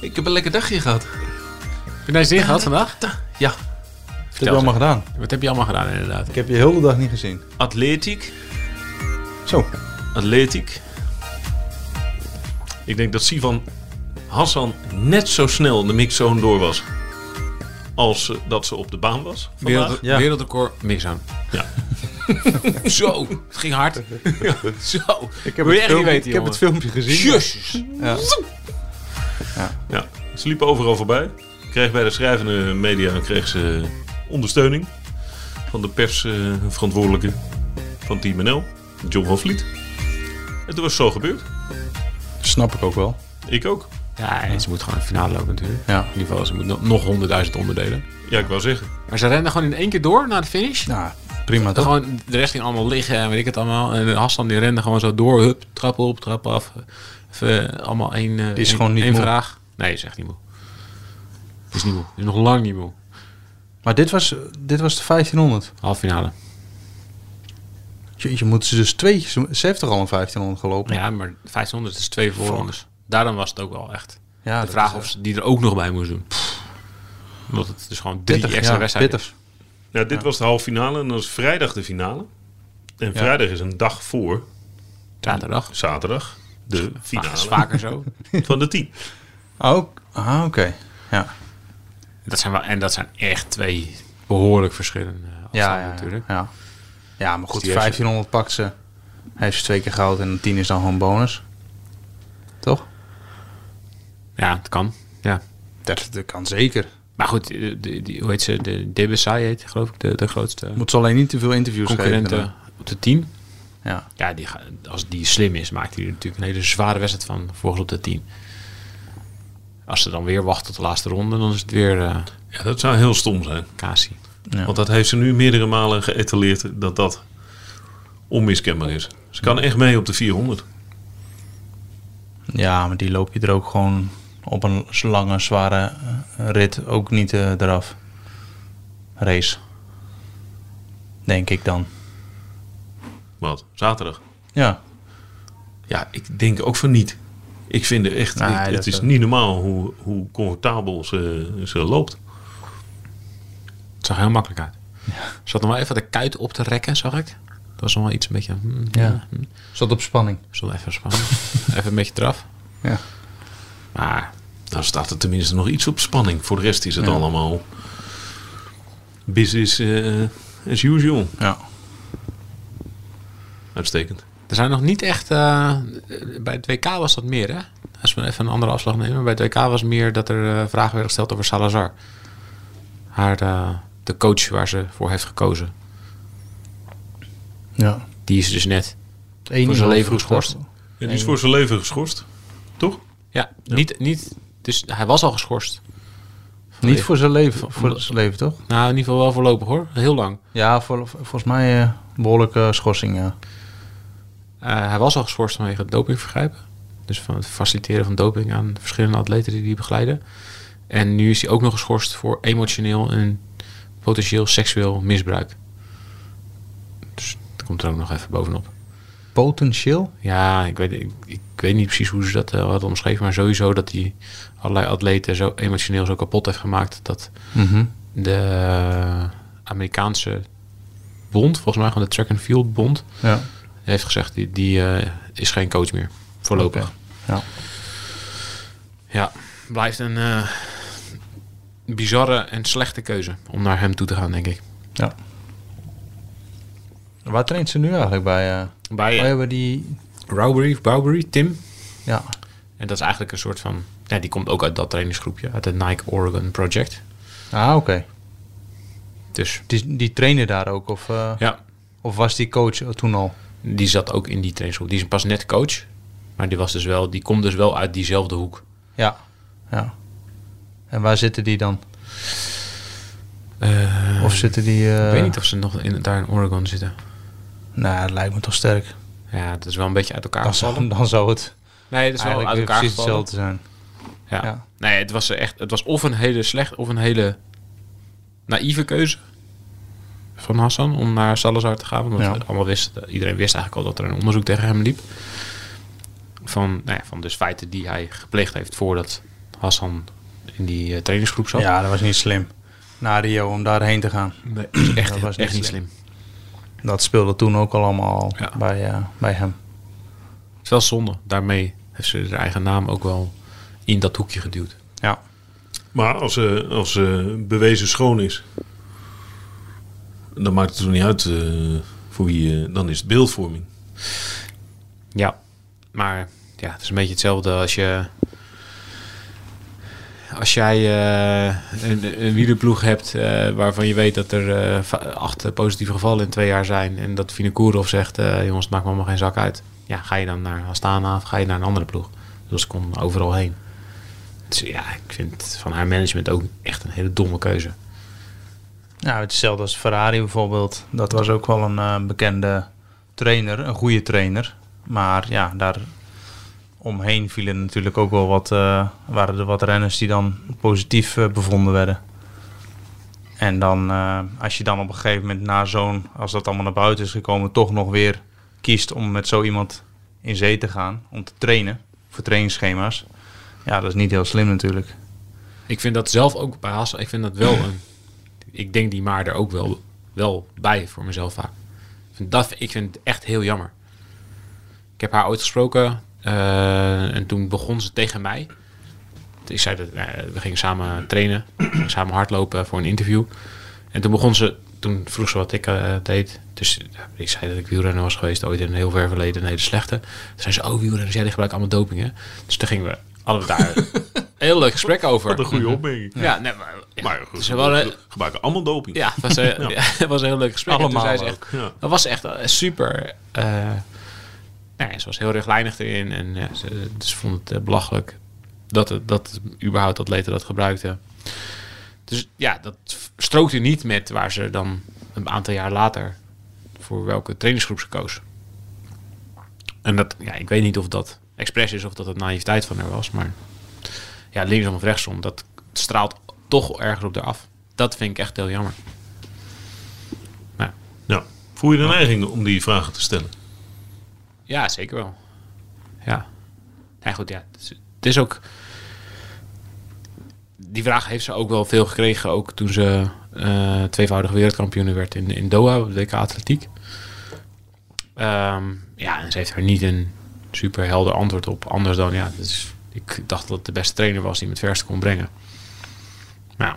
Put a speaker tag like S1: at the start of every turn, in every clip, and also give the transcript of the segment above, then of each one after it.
S1: Ik heb een lekker dagje gehad.
S2: Heb je daar zin gehad vandaag?
S1: Ja,
S3: Wat heb je allemaal gedaan?
S2: Wat heb je allemaal gedaan inderdaad?
S3: Ik heb je heel de dag niet gezien.
S1: atletiek.
S3: Zo,
S1: Atletiek. Ik denk dat Sivan Hassan net zo snel de mixzone door was. Als eh, dat ze op de baan was. Vandaag.
S2: Wereld,
S3: ja.
S2: Wereldrecord mix aan.
S1: Ja.
S2: Zo, het ging hard. Zo.
S3: ik
S2: Wil
S3: heb,
S2: je
S3: het,
S2: echt niet
S3: filmpje,
S2: weten,
S3: ik heb het filmpje gezien.
S2: Jezus.
S3: Ja.
S1: Ja, ze liepen overal voorbij. Kreeg bij de schrijvende media kreeg ze ondersteuning. Van de persverantwoordelijke van Team NL, John van Vliet. En toen was het zo gebeurd.
S3: Snap ik ook wel.
S1: Ik ook.
S2: Ja, en ze moet gewoon een finale lopen natuurlijk.
S3: Ja.
S2: In ieder geval, ze moet no- nog honderdduizend onderdelen.
S1: Ja, ik wou zeggen.
S2: Maar ze rennen gewoon in één keer door naar de finish.
S3: Nou, prima
S2: Dan
S3: toch?
S2: gewoon, de rest ging allemaal liggen en weet ik het allemaal. En Hassan die rende gewoon zo door. Hup, trap op, trap af. Even, eh, allemaal één, eh,
S3: is
S2: één-
S3: gewoon niet
S2: één
S3: moe.
S2: vraag. Nee, is echt niet moe. Is niet moe. Is nog lang niet moe.
S3: Maar dit was, eh, dit was de 1500.
S2: Half finale.
S3: Je, moet ze dus twee... Ze ze heeft toch al een 1500 gelopen?
S2: Ja, maar 1500 is twee voorrondes. Daarom was het ook wel echt.
S3: Ja, eh,
S2: de vraag of ze die er ook nog bij moest doen. Omdat het dus gewoon drie extra wedstrijden is.
S3: Bitter.
S1: Ja, dit was de halve finale en dan is vrijdag de finale. En vrijdag is een dag voor
S2: Zaterdag.
S1: zaterdag de
S2: Maar dat is
S1: finale
S2: vaker zo.
S1: van de team.
S3: Ook? Ah, oké. Ja.
S2: Dat zijn wel, en dat zijn echt twee behoorlijk verschillende eh, afstanden
S3: Ja, ja,
S2: natuurlijk.
S3: Ja. ja, maar goed,
S2: Dus die heeft ze-
S3: 1500 pakt ze. Heeft ze twee keer goud en 10 is dan gewoon bonus. Toch?
S2: Ja, het kan. Ja.
S3: Dat, dat kan zeker.
S2: Maar goed, eh, de, die, hoe heet ze? De Debesai heet die, geloof ik de, de grootste
S3: Moet ze alleen niet te veel interviews geven.
S2: concurrenten op de team.
S3: dan. Ja.
S2: Ja, die, ga- als die slim is, maakt hij er natuurlijk een hele zware wedstrijd van. Volgens op de 10. Als ze dan weer wachten tot de laatste ronde, dan is het weer eh
S1: Ja, dat zou heel stom zijn.
S2: Kasi.
S3: Ja.
S1: Want dat heeft ze nu meerdere malen geëtaleerd dat dat onmiskenbaar is. Ze kan echt mee op de 400.
S3: ja, maar die loop je er ook gewoon op een lange, zware eh, rit ook niet eh, eraf. Race. Denk ik dan.
S1: Wat? Zaterdag?
S3: Ja.
S1: Ja, ik denk ook van niet. Ik vind het echt,
S3: Nee,
S1: ik- het
S3: dat
S1: is
S3: ook.
S1: niet normaal hoe, hoe comfortabel ze, ze loopt.
S2: Het zag heel makkelijk uit. Ze had nog wel even de kuit op te rekken, zag ik. Dat was nog wel iets een beetje... hmm,
S3: Ja. Hm. Zat op spanning.
S2: Stond even spannen. even een beetje eraf.
S3: Ja.
S2: Maar
S1: Dan Nou, staat er tenminste nog iets op spanning. Voor de rest is het allemaal business eh, as usual.
S3: Ja.
S1: Uitstekend.
S2: er zijn nog niet echt... eh, bij het WK was dat meer, hè? Als we even een andere afslag nemen. Bij het WK was meer dat er eh, vragen werden gesteld over Salazar. Haar, eh, de coach waar ze voor heeft gekozen.
S3: ja.
S2: Die is dus net
S3: Het ene
S2: voor zijn
S3: hoofd-
S2: leven geschorst.
S1: En die is voor zijn leven geschorst. Toch?
S2: Ja, Niet, niet... Dus hij was al geschorst.
S3: Niet voor zijn leven, voor zijn leven toch?
S2: Nou, in ieder geval wel voorlopig, hoor. Heel lang.
S3: Ja, vol- volgens mij eh, behoorlijke schorsing, ja.
S2: Eh, hij was al geschorst vanwege het dopingvergrijpen. Dus van het faciliteren van doping aan verschillende atleten die die begeleiden. En nu is hij ook nog geschorst voor emotioneel en potentieel seksueel misbruik. Dus dat komt er ook nog even bovenop.
S3: Potentieel?
S2: Ja, ik weet, ik, ik weet niet precies hoe ze dat eh, hadden omschreven. Maar sowieso dat hij allerlei atleten zo emotioneel zo kapot heeft gemaakt. Dat
S3: Mhm.
S2: de eh, Amerikaanse bond, volgens mij gewoon de Track and Field Bond,
S3: Ja.
S2: heeft gezegd, die, die eh, is geen coach meer. Voorlopig.
S3: Oké. Ja.
S2: Ja, blijft een eh, bizarre en slechte keuze om naar hem toe te gaan, denk ik.
S3: ja. Waar traint ze nu eigenlijk bij? eh?
S2: Bij
S3: Oh
S2: eh,
S3: ja, bij die...
S2: Rowbury, of Bowbury, Tim.
S3: Ja.
S2: En dat is eigenlijk een soort van... Ja, die komt ook uit dat trainingsgroepje, uit het Nike Oregon Project.
S3: Ah, oké.
S2: Dus
S3: Die, die trainen daar ook? Of, eh,
S2: ja,
S3: Of was die coach toen al?
S2: Die zat ook in die trainingsgroep. Die is pas net coach. Maar die, was dus wel, die komt dus wel uit diezelfde hoek.
S3: Ja. ja. En waar zitten die dan?
S2: Eh,
S3: Of zitten die... eh,
S2: ik weet niet of ze nog in, daar in Oregon zitten.
S3: Nou, het lijkt me toch sterk.
S2: Ja, het is wel een beetje uit elkaar
S3: Dan
S2: gevallen.
S3: zou, dan zou het
S2: Nee, het is wel
S3: eigenlijk
S2: uit
S3: weer
S2: elkaar
S3: precies
S2: gevallen.
S3: hetzelfde zijn.
S2: Ja.
S3: Ja.
S2: Nee, het was echt. Het was of een hele slecht of een hele naïeve keuze van Hassan om naar Salazar te gaan. Omdat
S3: Ja.
S2: we allemaal wisten, iedereen wist eigenlijk al dat er een onderzoek tegen hem liep. Van, nou ja, van dus feiten die hij gepleegd heeft voordat Hassan in die eh, trainingsgroep zat.
S3: Ja, dat was niet slim. Naar Rio, om daarheen te gaan.
S2: Nee, echt,
S3: Dat was
S2: echt
S3: niet
S2: niet
S3: slim.
S2: slim.
S3: Dat speelde toen ook al allemaal
S2: Ja.
S3: bij, eh, bij hem.
S2: Het is wel zonde. Daarmee heeft ze haar eigen naam ook wel in dat hoekje geduwd.
S3: Ja.
S1: Maar als ze als, ze bewezen schoon is, dan maakt het toch niet uit eh, voor wie. eh, dan is het beeldvorming.
S2: Ja, maar ja, het is een beetje hetzelfde als je. Als jij eh, een, een wielerploeg hebt eh, waarvan je weet dat er eh, va- acht eh, positieve gevallen in twee jaar zijn. En dat Vinokourov zegt, eh, jongens, het maakt me allemaal geen zak uit. Ja, ga je dan naar Astana of ga je naar een andere ploeg? Dus ze kon overal heen. Dus ja, ik vind van haar management ook echt een hele domme keuze.
S3: Nou, hetzelfde als Ferrari bijvoorbeeld. Dat was ook wel een eh, bekende trainer, een goede trainer. Maar ja, daar omheen vielen natuurlijk ook wel wat, eh, waren er wat renners die dan positief eh, bevonden werden. En dan, eh, als je dan op een gegeven moment na zo'n, als dat allemaal naar buiten is gekomen, toch nog weer kiest om met zo iemand in zee te gaan, om te trainen voor trainingsschema's. Ja, dat is niet heel slim natuurlijk.
S2: Ik vind dat zelf ook bij Hassel. Ik vind dat wel een. Ik denk die maar er ook wel, wel bij voor mezelf vaak. Ik vind, dat, ik vind het echt heel jammer. Ik heb haar ooit gesproken eh, en toen begon ze tegen mij. Ik zei dat eh, we gingen samen trainen, we gingen samen hardlopen voor een interview. En toen begon ze, toen vroeg ze wat ik eh, deed. Dus eh, ik zei dat ik wielrenner was geweest ooit in een heel ver verleden, een hele slechte. Toen zei ze, oh wielrenners, jij gebruikt allemaal doping hè. Dus toen gingen we allemaal daar een heel leuk gesprek over.
S1: Wat een goede opmerking.
S2: Ja, ja, nee, maar, ja,
S1: Maar goed,
S2: ze wel een,
S1: we gebruiken allemaal doping.
S2: ja, het was, een- ja, het was een heel leuk gesprek. En toen
S3: Allemaal
S2: zei ze echt,
S1: ook, ja.
S2: Dat was echt eh, super. eh, nou ja, ze was heel rechtlijnig erin en ja, ze, ze vond het eh, belachelijk dat, het, dat überhaupt atleten dat gebruikten. Dus ja, dat strookte niet met waar ze dan een aantal jaar later voor welke trainingsgroep ze koos. En dat, ja, ik weet niet of dat expres is of dat het naïviteit van haar was, maar ja, linksom of rechtsom, dat straalt toch ergens op haar af. Dat vind ik echt heel jammer. Nou,
S1: Ja. Voel je de neiging om die vragen te stellen?
S2: ja, zeker wel. Ja. Nee, goed, ja. Het is, het is ook... Die vraag heeft ze ook wel veel gekregen, ook toen ze eh tweevoudig wereldkampioen werd in, in Doha, op de WK Atletiek. Ehm, ja, en ze heeft er niet een super helder antwoord op, anders dan, ja, dus ik dacht dat het de beste trainer was die me het verste kon brengen. Nou.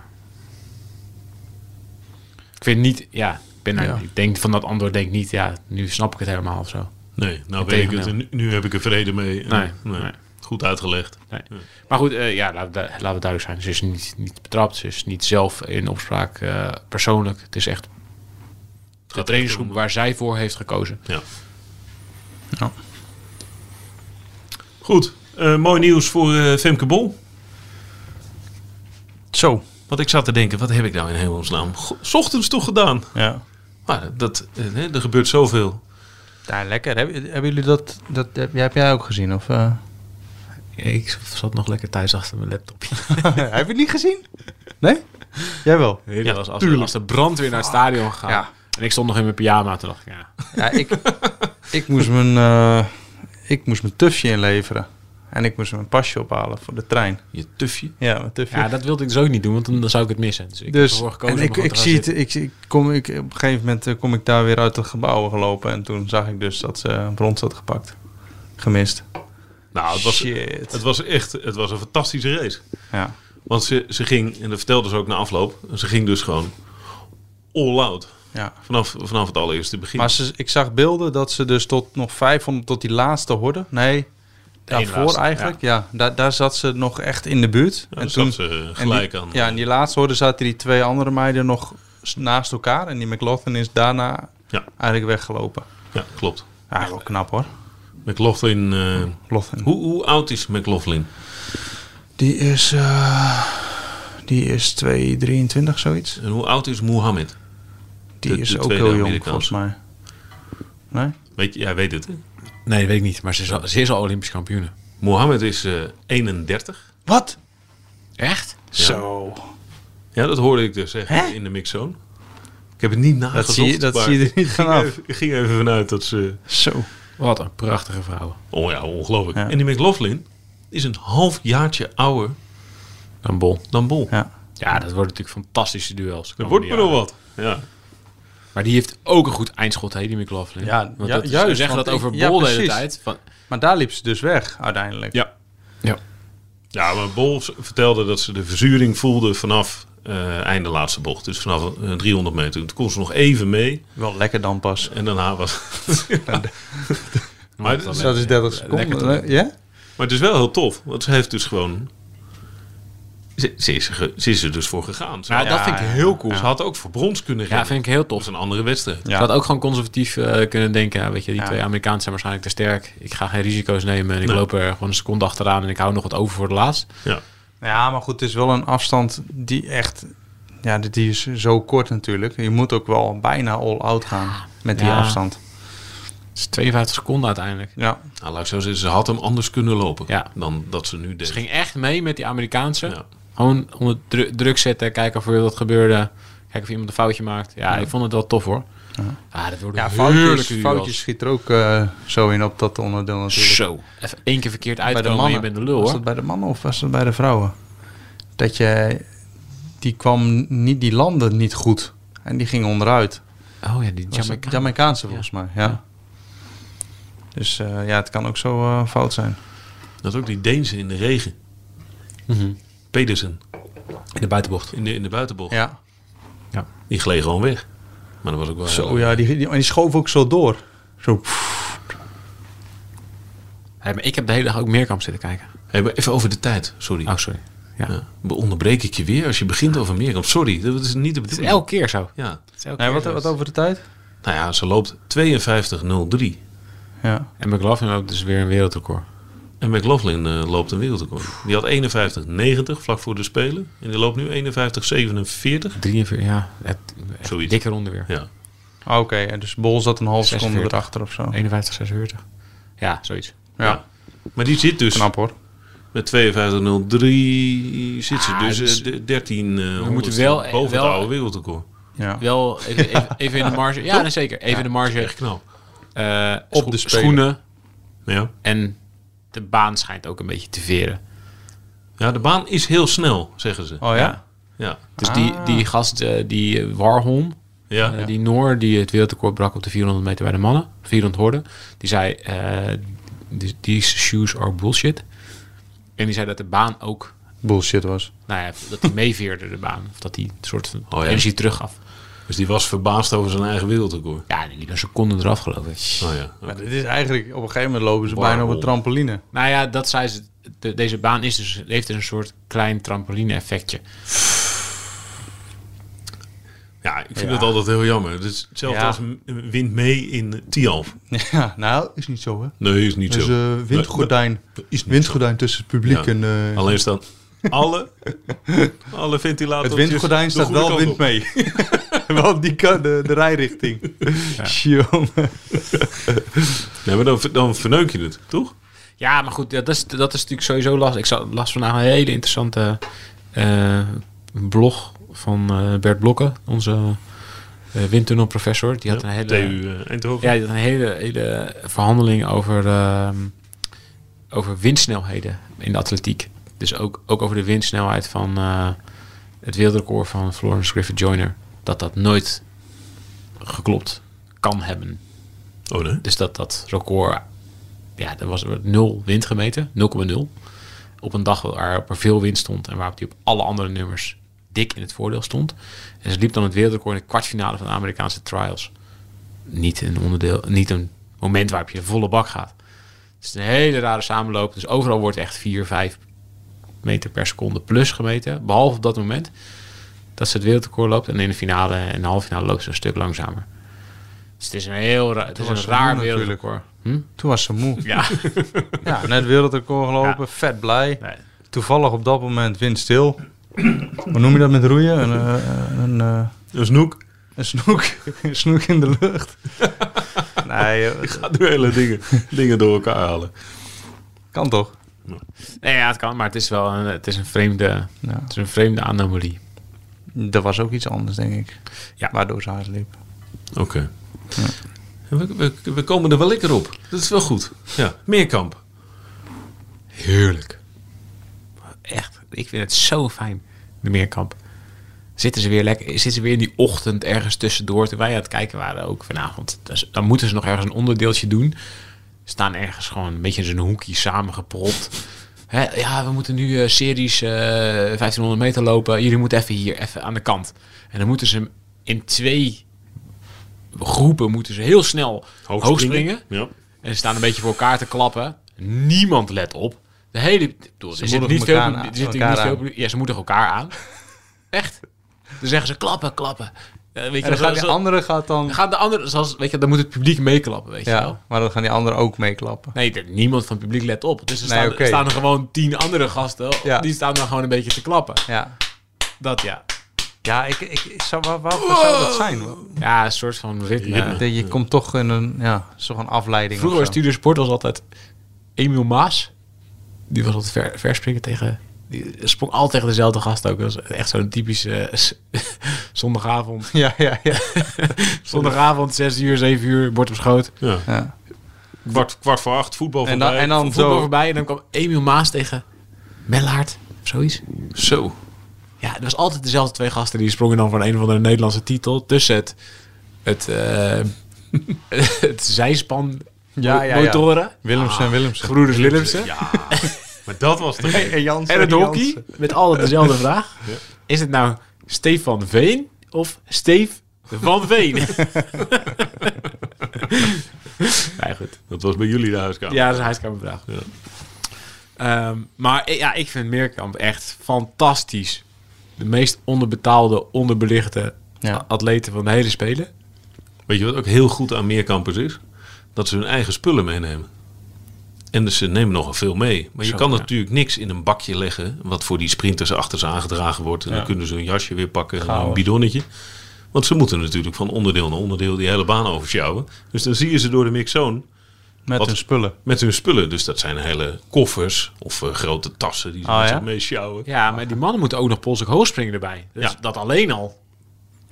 S2: Ik vind niet, ja, ik, ben daar,
S3: Ja.
S2: ik denk van dat antwoord denk ik niet, ja, nu snap ik het helemaal of zo.
S1: Nee, nou weet ik het.
S2: tegendeel.
S1: En nu- nu heb ik er vrede mee. En-
S2: Nee, nee.
S1: Goed uitgelegd.
S2: Nee. Maar goed, eh, ja, laten we, du- laten we duidelijk zijn. Ze is niet, niet betrapt. Ze is niet zelf in opspraak eh, persoonlijk. Het is echt de trainingsgroep waar zij voor heeft gekozen.
S1: Ja.
S3: Ja.
S1: Goed. Eh, mooi nieuws voor eh, Femke Bol.
S3: Zo.
S1: Want ik zat te denken, wat heb ik nou in hemelsnaam? Go- 's ochtends toch gedaan?
S3: Ja.
S1: Maar dat, eh, hè, er gebeurt zoveel.
S3: Ja, lekker. Heb- hebben jullie dat, dat heb, heb jij ook gezien? Of, eh?
S2: Ik zat nog lekker thuis achter mijn laptopje.
S3: heb je het niet gezien? Nee? Jij wel?
S2: Ja, was als, als de brandweer naar het stadion gegaan.
S3: Ja.
S2: En ik stond nog in mijn pyjama. Toen dacht ik, ja.
S3: Ja, ik, ik, moest mijn, eh, ik moest mijn tufje inleveren. En ik moest mijn pasje ophalen voor de trein.
S1: Je tufje.
S3: Ja, mijn tufje.
S2: ja, dat wilde ik dus ook niet doen, want dan, dan zou ik het missen. Dus ik heb
S3: dus
S2: ervoor gekozen
S3: en
S2: om
S3: ik,
S2: gewoon te
S3: ik,
S2: gaan
S3: zie het,
S2: zitten.
S3: ik, zie- ik kom, ik, op een gegeven moment eh, kom ik daar weer uit het gebouw gelopen. En toen zag ik dus dat ze een brons had gepakt. Gemist.
S1: Nou, het was,
S3: Shit.
S1: het was echt het was een fantastische race.
S3: Ja.
S1: Want ze, ze ging, en dat vertelde ze ook na afloop, ze ging dus gewoon all out.
S3: ja.
S1: Vanaf, vanaf het allereerste begin.
S3: Maar ze, ik zag beelden dat ze dus tot nog 500, tot die laatste horde. Nee, daarvoor
S2: laatste,
S3: eigenlijk. Ja, daar, daar zat ze nog echt in de buurt.
S1: Ja, daar zat ze
S3: en
S1: gelijk
S3: die-
S1: aan.
S3: Ja, in die laatste horde zaten die twee andere meiden nog s- naast elkaar. En die McLaughlin is daarna
S1: Ja.
S3: eigenlijk weggelopen.
S1: Ja, klopt.
S3: Ja, wel knap hoor.
S1: McLaughlin. eh,
S3: Lofton.
S1: hoe, hoe oud is McLaughlin?
S3: Die is, eh, die is 223 zoiets.
S1: En hoe oud is Mohammed?
S3: Die
S1: De-
S3: is
S1: de
S3: ook
S1: tweede
S3: heel jong
S1: Amerikaanse.
S3: volgens mij. Nee?
S1: Weet je, jij weet het, hè?
S2: Nee, dat weet ik niet. Maar ze is al, ze is al Olympisch kampioen.
S1: Mohammed is eh, 31.
S3: Wat?
S2: Echt?
S3: Zo.
S1: Ja, dat hoorde ik dus echt
S3: Hè?
S1: in de mixzone. Ik heb het niet nagezocht.
S3: Dat zie je, dat
S1: maar
S3: zie je er niet
S1: ik
S3: van
S1: ging
S3: af.
S1: even- Ik ging even vanuit dat ze...
S3: Zo.
S2: Wat een prachtige vrouw.
S1: Oh ja, ongelooflijk.
S3: Ja.
S1: En die McLaughlin is een half jaartje ouder
S2: Een bol.
S1: dan Bol.
S3: Ja.
S2: Ja, dat wordt natuurlijk fantastische duels.
S1: Dat wordt me nog wat. Ja.
S2: Maar die heeft ook een goed eindschot, hè, die McLaughlin.
S3: Ja,
S2: Want
S3: ja,
S2: dat is-
S3: juist,
S2: We zeggen
S3: want
S2: dat over
S3: ik- ja,
S2: Bol de hele
S3: precies.
S2: tijd. Van,
S3: Maar daar liep ze dus weg uiteindelijk.
S1: Ja.
S2: Ja.
S1: ja, maar Bol s- vertelde dat ze de verzuring voelde vanaf eh einde laatste bocht. Dus vanaf eh, 300 meter. Toen kon ze nog even mee.
S3: Wel lekker dan pas.
S1: En daarna was... maar,
S3: Dus
S1: het-
S3: dat is 30
S2: Eh, lekker
S3: seconden. hè? Ja?
S1: maar het is wel heel tof. Want ze heeft dus gewoon... Ze, ze is, er ge- ze is er dus voor gegaan. Ze,
S2: nou,
S1: had,
S2: dat vind ik
S3: ja,
S2: heel cool.
S1: ze had ook voor brons kunnen gaan.
S2: Ja, vind ik heel
S1: Dat
S2: tof.
S1: is een andere wedstrijd.
S3: Ja.
S2: Ze had ook gewoon conservatief eh, kunnen denken. ja, weet je, die
S3: Ja.
S2: twee Amerikanen zijn waarschijnlijk te sterk. Ik ga geen risico's nemen. En ik loop er gewoon een seconde achteraan. En ik hou nog wat over voor de laatst.
S1: Ja.
S3: Ja, maar goed, het is wel een afstand die echt... Ja, die- die is zo kort natuurlijk. Je moet ook wel bijna all-out gaan met die
S2: Ja.
S3: afstand.
S2: Het is 52 seconden uiteindelijk.
S3: Ja,
S1: Nou, laat ik zo zeggen, ze had hem anders kunnen lopen
S2: Ja.
S1: dan dat ze nu deed.
S2: Ze ging echt mee met die Amerikaanse.
S1: Ja.
S2: Gewoon onder dru- druk zetten. Kijken of er wat gebeurde. Kijken of iemand een foutje maakt. Ja, ik vond het wel tof hoor. Ja, dat worden
S3: ja
S2: heerlijke
S3: foutjes,
S2: duels.
S3: foutjes schiet er ook eh, zo in op dat onderdeel natuurlijk.
S2: Zo. Even één keer verkeerd
S3: bij de
S2: uitkomen en
S3: mannen.
S2: je bent de lul
S3: Was
S2: hoor.
S3: dat bij de mannen of was dat bij de vrouwen? Dat je... Die kwam niet... Die landde niet goed. En die ging onderuit.
S2: Oh ja, die
S3: Was het
S2: Jamaica.
S3: Jamaicaanse volgens mij, ja.
S2: Ja.
S3: Dus eh, ja, het kan ook zo eh, fout zijn.
S1: Dat ook die Deense in de regen.
S2: Mhm.
S1: Pedersen
S2: In de buitenbocht.
S1: in de, in de buitenbocht.
S3: Ja.
S1: Die gleed gewoon weg. Maar dat was ook wel...
S3: Zo, ja, die, die, en die schoof ook zo door. Zo. pff.
S2: Hey, maar ik heb de hele dag ook Meerkamp zitten kijken.
S1: Hey, maar even over de tijd, sorry.
S2: Oh, sorry. Ja.
S1: Ja, be- onderbreek ik je weer als je begint over Meerkamp. Sorry, dat is niet de
S2: Het is
S1: bedoeling.
S2: elke keer zo.
S1: Ja.
S2: Het is elke
S3: Nee,
S2: keer
S3: wat,
S2: zo.
S3: wat over de tijd?
S1: Nou ja, ze loopt 52.03.
S3: Ja.
S2: En McLaughlin loopt dus weer een wereldrecord.
S1: En McLaughlin eh, loopt een wereldrecord. Die had 51.90 vlak voor de Spelen. En die loopt nu 51.47.
S2: 43, ja. Het, echt
S1: Zoiets.
S2: dikke ronde weer.
S1: Ja.
S3: Ah, Oké, en dus Bol zat een half seconde
S2: 46.
S3: erachter of zo.
S2: 51, 46. Ja, zoiets.
S3: Ja,
S1: Maar die zit dus
S3: knap hoor.
S1: met 52.03 zit ze
S2: Ah,
S1: dus
S2: dus-
S1: eh, de- 13 eh,
S2: moeten
S1: honderdste
S2: wel-
S1: boven
S2: wel-
S1: het oude wereldrecord.
S3: Ja.
S2: Wel even, even, even in de marge. Ja, nee, zeker. Even in de marge.
S1: Echt knap.
S2: eh, scho-
S3: de speler.
S2: schoenen.
S1: Ja.
S2: En de baan schijnt ook een beetje te veren.
S1: ja, de baan is heel snel, zeggen ze.
S3: Oh ja?
S1: Ja.
S2: Dus die, die gast, eh, die eh, Warholm,
S1: Ja.
S2: eh, die Noor, die het wereldrecord brak op de 400 meter bij de mannen, 400 horden, die zei, eh, die- these shoes are bullshit. En die zei dat de baan ook,
S3: Bullshit was.
S2: nou ja, dat die meeveerde de baan. Of dat die een soort van
S1: Oh ja.
S2: energie teruggaf.
S1: Dus die was verbaasd over zijn eigen wereldrecord.
S2: Ja, die liep een seconde eraf geloof ik.
S1: Oh ja.
S3: Maar dit is eigenlijk, op een gegeven moment lopen ze
S1: Warhol.
S3: bijna op een trampoline.
S2: Nou ja, dat zei ze, de- deze baan is dus, heeft dus een soort klein trampoline effectje.
S1: Ja, ik vind dat altijd heel jammer. Het is hetzelfde
S3: Ja.
S1: als een wind mee in Tialf.
S3: Ja, nou, is niet zo hè.
S1: Nee, is niet
S3: Dus
S1: zo.
S3: eh windgordijn,
S1: Is niet
S3: windgordijn tussen het publiek
S1: Ja.
S3: en... eh,
S1: Alleen staan alle, alle ventilators.
S3: het windgordijn staat wel wind mee. wel op die kant, de, de rijrichting. Jongen.
S1: Nee, maar dan, dan verneuk je het, toch?
S2: Ja, maar goed, dat is, dat is natuurlijk sowieso lastig. Ik zat, las vandaag een hele interessante eh, blog van eh, Bert Blokken, onze eh, windtunnelprofessor. Die had een hele,
S1: TU eh, Eindhoven.
S2: ja, die had een hele, hele verhandeling over, ehm, over windsnelheden in de atletiek. Dus ook, ook over de windsnelheid van eh, het wereldrecord van Florence Griffith Joyner. Dat dat nooit geklopt kan hebben.
S1: Oh nee.
S2: Dus dat, dat record, ja, er was er nul wind gemeten, 0,0. Op een dag waarop er veel wind stond en waarop die op alle andere nummers dik in het voordeel stond. En ze liep dan het wereldrecord in de kwartfinale van de Amerikaanse trials. Niet een onderdeel, niet een moment waarop je de volle bak gaat. Het is een hele rare samenloop. Dus overal wordt echt 4, 5 meter per seconde plus gemeten. Behalve op dat moment dat ze het wereldrecord loopt. En in de finale en de halve finale loopt ze een stuk langzamer. Dus het is een heel raar, het is
S3: Toen
S2: een
S3: was ze
S2: raar
S3: moe
S2: wereldrecord. Hm?
S3: Toen was ze moe.
S2: Ja.
S3: Ja, net wereldrecord gelopen, vet blij.
S2: Nee.
S3: Toevallig op dat moment windstil. Hoe noem je dat met roeien? Een, eh, een, eh,
S1: Een snoek.
S3: een, snoek, een snoek in de lucht. Nee, eh,
S1: Gaat nu hele dingen, dingen door elkaar halen.
S3: kan toch?
S2: nee, ja, het kan, maar het is wel een, het is een, vreemde,
S3: Ja.
S2: het is een vreemde anomalie.
S3: Dat was ook iets anders, denk ik.
S2: Ja.
S3: Waardoor ze hard liep.
S1: Oké. We, we, we komen er wel lekker op. Dat is wel goed. Ja, Meerkamp. Heerlijk.
S2: Echt, ik vind het zo fijn, de meerkamp. Zitten ze weer lekker, zitten ze weer in die ochtend ergens tussendoor, terwijl wij aan het kijken waren ook vanavond. Dus dan moeten ze nog ergens een onderdeeltje doen. Staan ergens gewoon een beetje in zo'n hoekje samengepropt. Hè, ja, we moeten nu eh, series eh, 1500 meter lopen. Jullie moeten even hier, even aan de kant. En dan moeten ze in twee groepen moeten ze heel snel hoog springen.
S1: Ja.
S2: En ze staan een beetje voor elkaar te klappen. Niemand let op. De hele... ik bedoel, er zit niet
S3: moedigen
S2: veel...
S3: elkaar
S2: Er
S3: aan-
S2: zit
S3: elkaar
S2: niet veel
S3: aan.
S2: ja, ze moedigen elkaar aan. Echt. Dan zeggen ze klappen, klappen. Eh, weet je,
S3: En dan
S2: dan
S3: gaat
S2: gaan,
S3: die
S2: ze,
S3: andere gaat dan...
S2: dan gaan de anderen... Zoals, weet je, dan moet het publiek meeklappen, weet je wel.
S3: Ja, maar dan gaan die anderen ook meeklappen.
S2: Nee, er- niemand van het publiek let op. Dus er
S3: Nee,
S2: staan,
S3: oké.
S2: staan er gewoon tien andere gasten.
S3: Ja.
S2: Die staan dan gewoon een beetje te klappen.
S3: Ja,
S2: Dat ja.
S3: ja ik, ik, ik zou, wat, wat zou dat zijn?
S2: Ja, een soort van ritme.
S1: Ritme.
S3: Dat je komt toch in een, ja, zo'n afleiding.
S2: Vroeger was
S3: of zo.
S2: Studio Sport was altijd Emiel Maas. Die was altijd ver, verspringen tegen... Die sprong altijd tegen dezelfde gast ook. Dat was echt zo'n typische eh, s- zondagavond.
S3: Ja, ja, ja.
S2: Zondagavond, 6 uur, 7 uur, bord op schoot.
S1: ja.
S3: ja.
S1: Kwart, kwart voor acht, voetbal
S3: En dan,
S1: voorbij.
S3: en dan
S2: Voetbal
S3: zo.
S2: voorbij en dan kwam Emiel Maas tegen Mellaert. Of zoiets.
S1: Zo.
S2: Ja, er was altijd dezelfde twee gasten. Die sprongen dan van een of andere Nederlandse titel. Tussen het... Het, eh, het zijspan
S3: Ja, ja, ja.
S2: motoren.
S3: Willemsen en Ah. Willemsen.
S2: Gebroeders Willemsen.
S1: Ja. Maar dat was toch...
S3: En Jansen.
S2: En het hockey,
S3: Jansen.
S2: met alle dezelfde vraag. Is het nou Stefan Veen of Steef van Veen? nee, goed.
S1: Dat was bij jullie de huiskamer.
S2: Ja, dat is een huiskamervraag.
S1: Ja.
S2: Ehm, maar eh, ja, ik vind Meerkamp echt fantastisch. De meest onderbetaalde, onderbelichte
S3: Ja.
S2: a- atleten van de hele Spelen.
S1: Weet je wat ook heel goed aan meerkampers is? Dat ze hun eigen spullen meenemen. En dus ze nemen nogal veel mee. Maar je
S2: Zo,
S1: kan
S2: ja.
S1: natuurlijk niks in een bakje leggen... wat voor die sprinters achter ze aangedragen wordt. En dan kunnen ze hun jasje weer pakken en een bidonnetje. Want ze moeten natuurlijk van onderdeel naar onderdeel... die hele baan oversjouwen. Dus dan zie je ze door de mixzone
S3: Met
S1: Wat-
S3: hun spullen.
S1: met hun spullen. Dus dat zijn hele koffers of eh, grote tassen... die ze
S3: Ah,
S1: met zich
S3: ja?
S1: mee sjouwen.
S2: Ja, maar die mannen moeten ook nog polsig hoog springen erbij. Dus
S1: Ja.
S2: dat alleen al.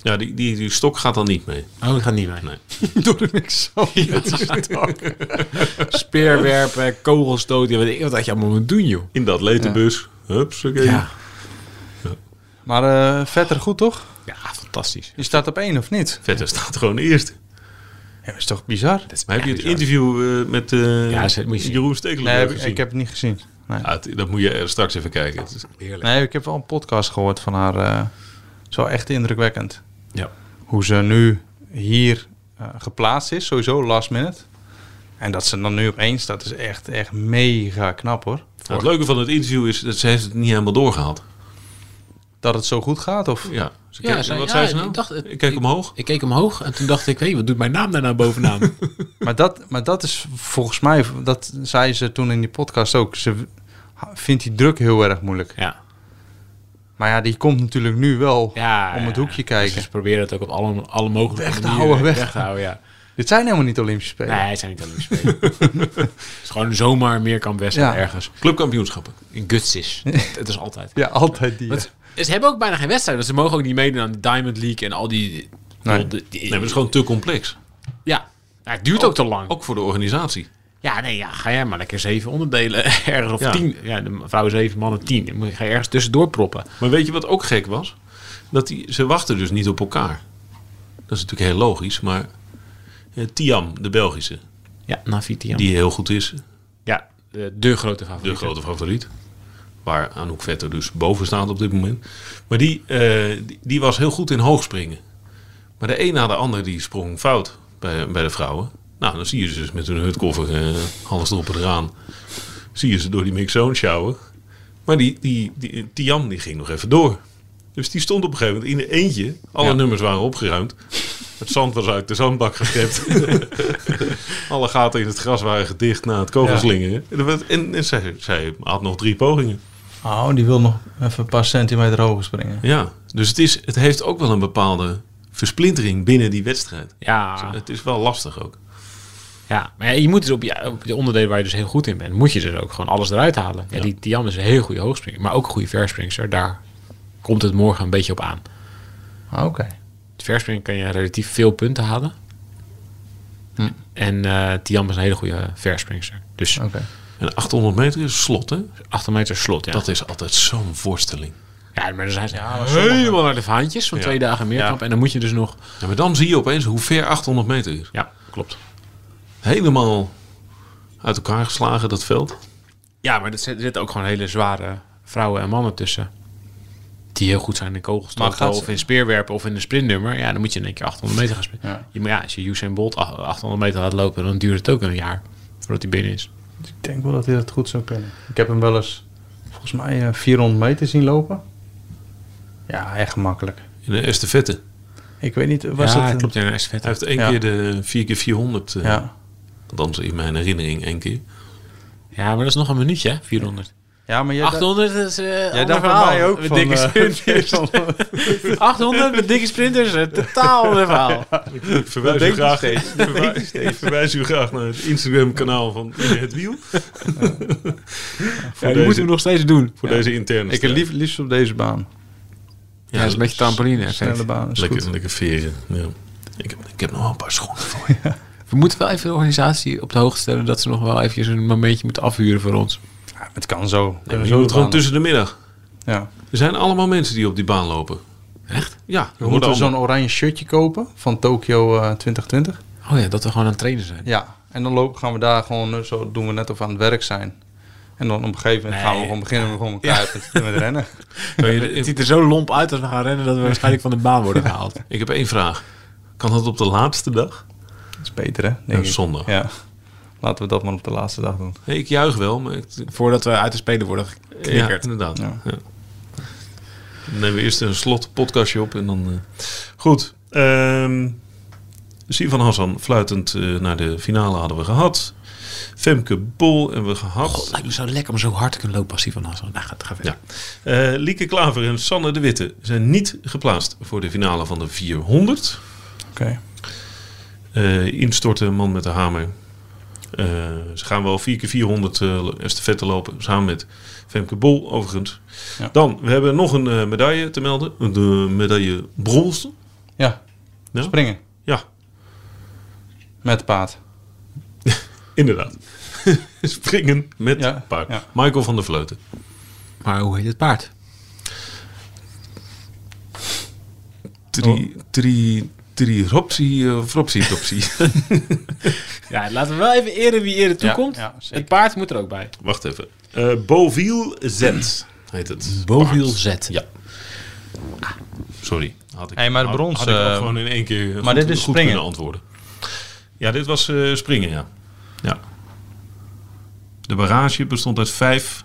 S1: Ja, die, die, die stok gaat dan niet mee.
S2: Oh, dat gaat niet mee.
S3: Door de mix.
S2: Speerwerpen, kogelstoten, weet ik wat dat je allemaal moet doen, joh.
S1: In de atletenbus. Hups, oké.
S2: Ja.
S3: Maar eh, vetter goed toch?
S2: Ja, fantastisch.
S3: Je staat op één of niet?
S1: Vetter staat gewoon eerst.
S3: Ja, dat is toch bizar?
S1: Maar heb je het interview eh, met eh,
S2: Ja, ze- moet je zien.
S1: Jeroen Stekelenburg
S3: Nee, heb ik,
S1: gezien?
S3: ik heb het niet gezien. Nee.
S1: Ja, het- dat moet je eh, straks even kijken. Het is-
S2: Heerlijk.
S3: nee, ik heb wel een podcast gehoord van haar. eh, zo echt indrukwekkend.
S2: Ja.
S3: Hoe ze nu hier eh, geplaatst is, sowieso last minute. En dat ze dan nu op één staat, is echt, echt mega knap hoor.
S1: Nou, het leuke van het interview is dat ze heeft het niet helemaal doorgehaald.
S3: Dat het zo goed gaat, of?
S1: Ja, ze
S2: Ja,
S1: keek-
S2: zei-
S1: wat
S2: ja,
S1: zei ze
S2: ik
S1: nou? Ik,
S2: dacht het-
S1: keek
S2: ik-
S1: omhoog.
S2: Ik keek omhoog en toen dacht ik, hé, wat doet mijn naam daarna bovenaan?
S3: Maar dat, maar dat is volgens mij, dat zei ze toen in die podcast ook. Ze vindt die druk heel erg moeilijk.
S2: ja.
S3: Maar ja, die komt natuurlijk nu wel
S2: ja.
S3: om het
S2: ja.
S3: hoekje kijken.
S2: Dus ze proberen het ook op alle, alle mogelijke
S3: Weg te
S2: manieren
S3: houden, weg.
S2: te houden, ja.
S3: Dit zijn helemaal niet Olympische Spelen.
S2: Nee, het zijn niet Olympische Spelen. het is gewoon zomaar meer kan wedstrijd
S3: Ja.
S2: ergens.
S1: Clubkampioenschappen.
S2: In guts is. het is altijd.
S3: Ja, altijd die.
S2: Want ze- ze hebben ook bijna geen wedstrijd, want ze mogen ook niet meedoen aan de Diamond League en al die...
S3: Nee.
S2: die- die-
S1: Nee, maar het is gewoon te complex.
S2: Ja. Ja, het duurt ook te lang.
S1: Ook voor de organisatie.
S2: Ja, nee, ja, ga jij maar lekker zeven onderdelen ergens of
S1: Ja.
S2: tien. Ja, de vrouwen zeven, mannen tien. Dan moet je- Ga je ergens tussendoor proppen.
S1: Maar weet je wat ook gek was? Dat die, ze wachten dus niet op elkaar. Dat is natuurlijk heel logisch, maar... eh, Tiam, de Belgische,
S2: Ja, Navitian.
S1: die heel goed is.
S2: Ja, de, de grote
S1: De
S2: favoriet.
S1: grote favoriet. Waar Anouk Vetter dus boven staat op dit moment. Maar die, eh, die, die was heel goed in hoogspringen. Maar de een na de ander die sprong fout bij, bij de vrouwen. Nou, dan zie je ze dus met hun hutkoffer, eh, alles erop en eraan. Zie je ze door die mixzone sjouwen. Maar die, die, die, Tiam die ging nog even door. Dus die stond op een gegeven moment in een eentje. Alle
S2: Ja.
S1: nummers waren opgeruimd. Het zand was uit de zandbak gekrept. Alle gaten in het gras waren gedicht na het kogelslingen. En, er werd- en, en zij, zij had nog drie pogingen.
S3: Oh, die wil nog even een paar centimeter hoger springen.
S1: Ja, dus het, is, het heeft ook wel een bepaalde versplintering binnen die wedstrijd.
S2: Ja,
S1: Het is wel lastig ook.
S2: ja. maar ja, je moet dus op, je, op de onderdelen waar je dus heel goed in bent, moet je dus ook gewoon alles eruit halen. Ja, Die, die Jan is een heel goede hoogspringer, maar ook een goede verspringster. Daar komt het morgen een beetje op aan.
S3: Ah, Oké.
S2: Het verspringen kan je relatief veel punten halen.
S1: Hm.
S2: En eh Tiam is een hele goede verspringster. Dus
S1: Oh.
S3: Oké.
S1: En 800 meter is slot, hè?
S2: 8 meter slot, ja.
S1: Dat is altijd zo'n voorstelling.
S2: Ja, maar dan zijn ze helemaal naar de vaantjes van
S1: Ja.
S2: twee dagen meerkamp. En dan moet je dus nog...
S1: Ja, maar dan zie je opeens hoe ver 800 meter is.
S2: Ja, klopt.
S1: Helemaal uit elkaar geslagen, dat veld.
S2: Ja, maar er zit- er zitten ook gewoon hele zware vrouwen en mannen tussen. Die heel goed zijn in
S3: Maar
S2: kogelstoten
S3: gaat ze-
S2: of in speerwerpen of in de sprintnummer. Ja, dan moet je in één keer 800 meter gaan sprinten.
S3: Ja.
S2: Ja, maar ja, als je Usain Bolt ach- 800 meter laat lopen, dan duurt het ook een jaar voordat hij binnen is.
S3: Dus ik denk wel dat hij dat goed zou kunnen. Ik heb hem wel eens, volgens mij, eh, 400 meter zien lopen. Ja, echt makkelijk.
S1: In de estafette.
S3: Ik weet niet, was
S2: ja,
S3: het... een-
S2: klopt. Ja, is vet.
S1: Hij heeft één
S3: Ja.
S1: keer de 4x400. eh
S3: Ja.
S1: Althans, in mijn herinnering één keer.
S2: Ja, maar dat is nog een minuutje, hè? 400.
S3: ja, maar jij
S2: 800 is eh
S3: Jij
S2: ander
S3: dacht bij
S2: verhaal.
S3: mij ook
S2: Met
S3: van,
S2: dikke
S3: eh,
S2: sprinters. 800 met dikke sprinters, eh, totaal ander verhaal.
S1: Ik verwijs, u
S3: denkt u
S1: graag, verwij- ik verwijs u graag naar het Instagram-kanaal van In Het Wiel. voor
S2: Ja, die
S1: deze,
S2: moeten we nog steeds doen.
S1: voor deze interne.
S3: Ik heb lief, liefst op deze baan.
S2: Ja, dus dat is een beetje trampoline effect.
S3: Snelle baan, is
S1: Lekker,
S3: goed.
S1: lekker veren. Ja. Ik, heb, ik heb nog wel een paar schoenen voor
S2: We moeten wel even de organisatie op de hoogte stellen dat ze nog wel eventjes een momentje moeten afhuren voor ons.
S3: Ja, het kan zo.
S1: je.
S3: Kunnen
S1: Je
S3: zo
S1: moet
S3: de
S1: gewoon
S3: baan.
S1: tussen de middag.
S3: Ja.
S1: Er zijn allemaal mensen die op die baan lopen. Echt? Ja.
S3: We moeten we zo'n oranje shirtje kopen van Tokio eh, 2020.
S2: Oh ja, dat we gewoon aan het trainen zijn.
S3: Ja, en dan lopen, gaan we daar gewoon, eh, zo doen we net of we aan het werk zijn. En dan op een gegeven moment gaan we
S2: Nee.
S3: gewoon beginnen we gewoon elkaar met, met rennen.
S2: Het ziet er zo lomp uit als we gaan rennen dat we waarschijnlijk van de baan worden gehaald.
S1: Ik heb één vraag. Kan dat op de laatste dag?
S3: Dat is beter, hè? Denk
S1: Ja,
S3: ik.
S1: zondag.
S3: Ja. Laten we dat maar op de laatste dag doen.
S1: Nee, ik juich wel, maar ik,
S2: Voordat we uit de spelen worden
S1: ja,
S2: geknikkerd.
S1: inderdaad.
S3: Ja.
S1: Ja. Dan nemen we eerst een slot podcastje op en dan... eh, Goed. Ehm Sivan Hassan fluitend eh, naar de finale hadden we gehad. Femke Bol hebben we gehad.
S2: God, lijkt me zo lekker om zo hard te kunnen lopen als die van Hassan. Nou, gaat ga verder.
S1: Ja. Eh, Lieke Klaver en Sanne de Witte zijn niet geplaatst voor de finale van de 400.
S3: Oké.
S1: Eh, instorten, man met de hamer. Eh, ze gaan wel 4 keer 400 uh, estafette lopen. Samen met Femke Bol, overigens.
S3: Ja.
S1: Dan, we hebben nog een eh, medaille te melden. De medaille brons.
S3: Ja.
S1: Ja?
S3: Springen
S1: Ja,
S3: met paard.
S1: inderdaad. Springen met
S3: Ja,
S1: paard.
S3: ja.
S1: Michael van der Vleuten.
S2: Maar hoe heet het paard?
S1: Tri, tri, tri, ropsie, eh, fropsie, topsie.
S2: Ja, laten we wel even eren wie eren toekomt.
S3: ja, zeker.
S2: het paard moet er ook bij.
S1: Wacht even. Eh Boviel Z heet het.
S2: Boviel Z. Ja.
S1: Ah. Sorry. Had ik,
S3: Hey, maar de
S1: had-
S3: brons,
S1: Had, ik ook
S3: eh,
S1: gewoon in één keer maar
S3: dit is springen.
S1: kunnen antwoorden. Ja, dit was eh, springen, ja. ja. De barrage bestond uit vijf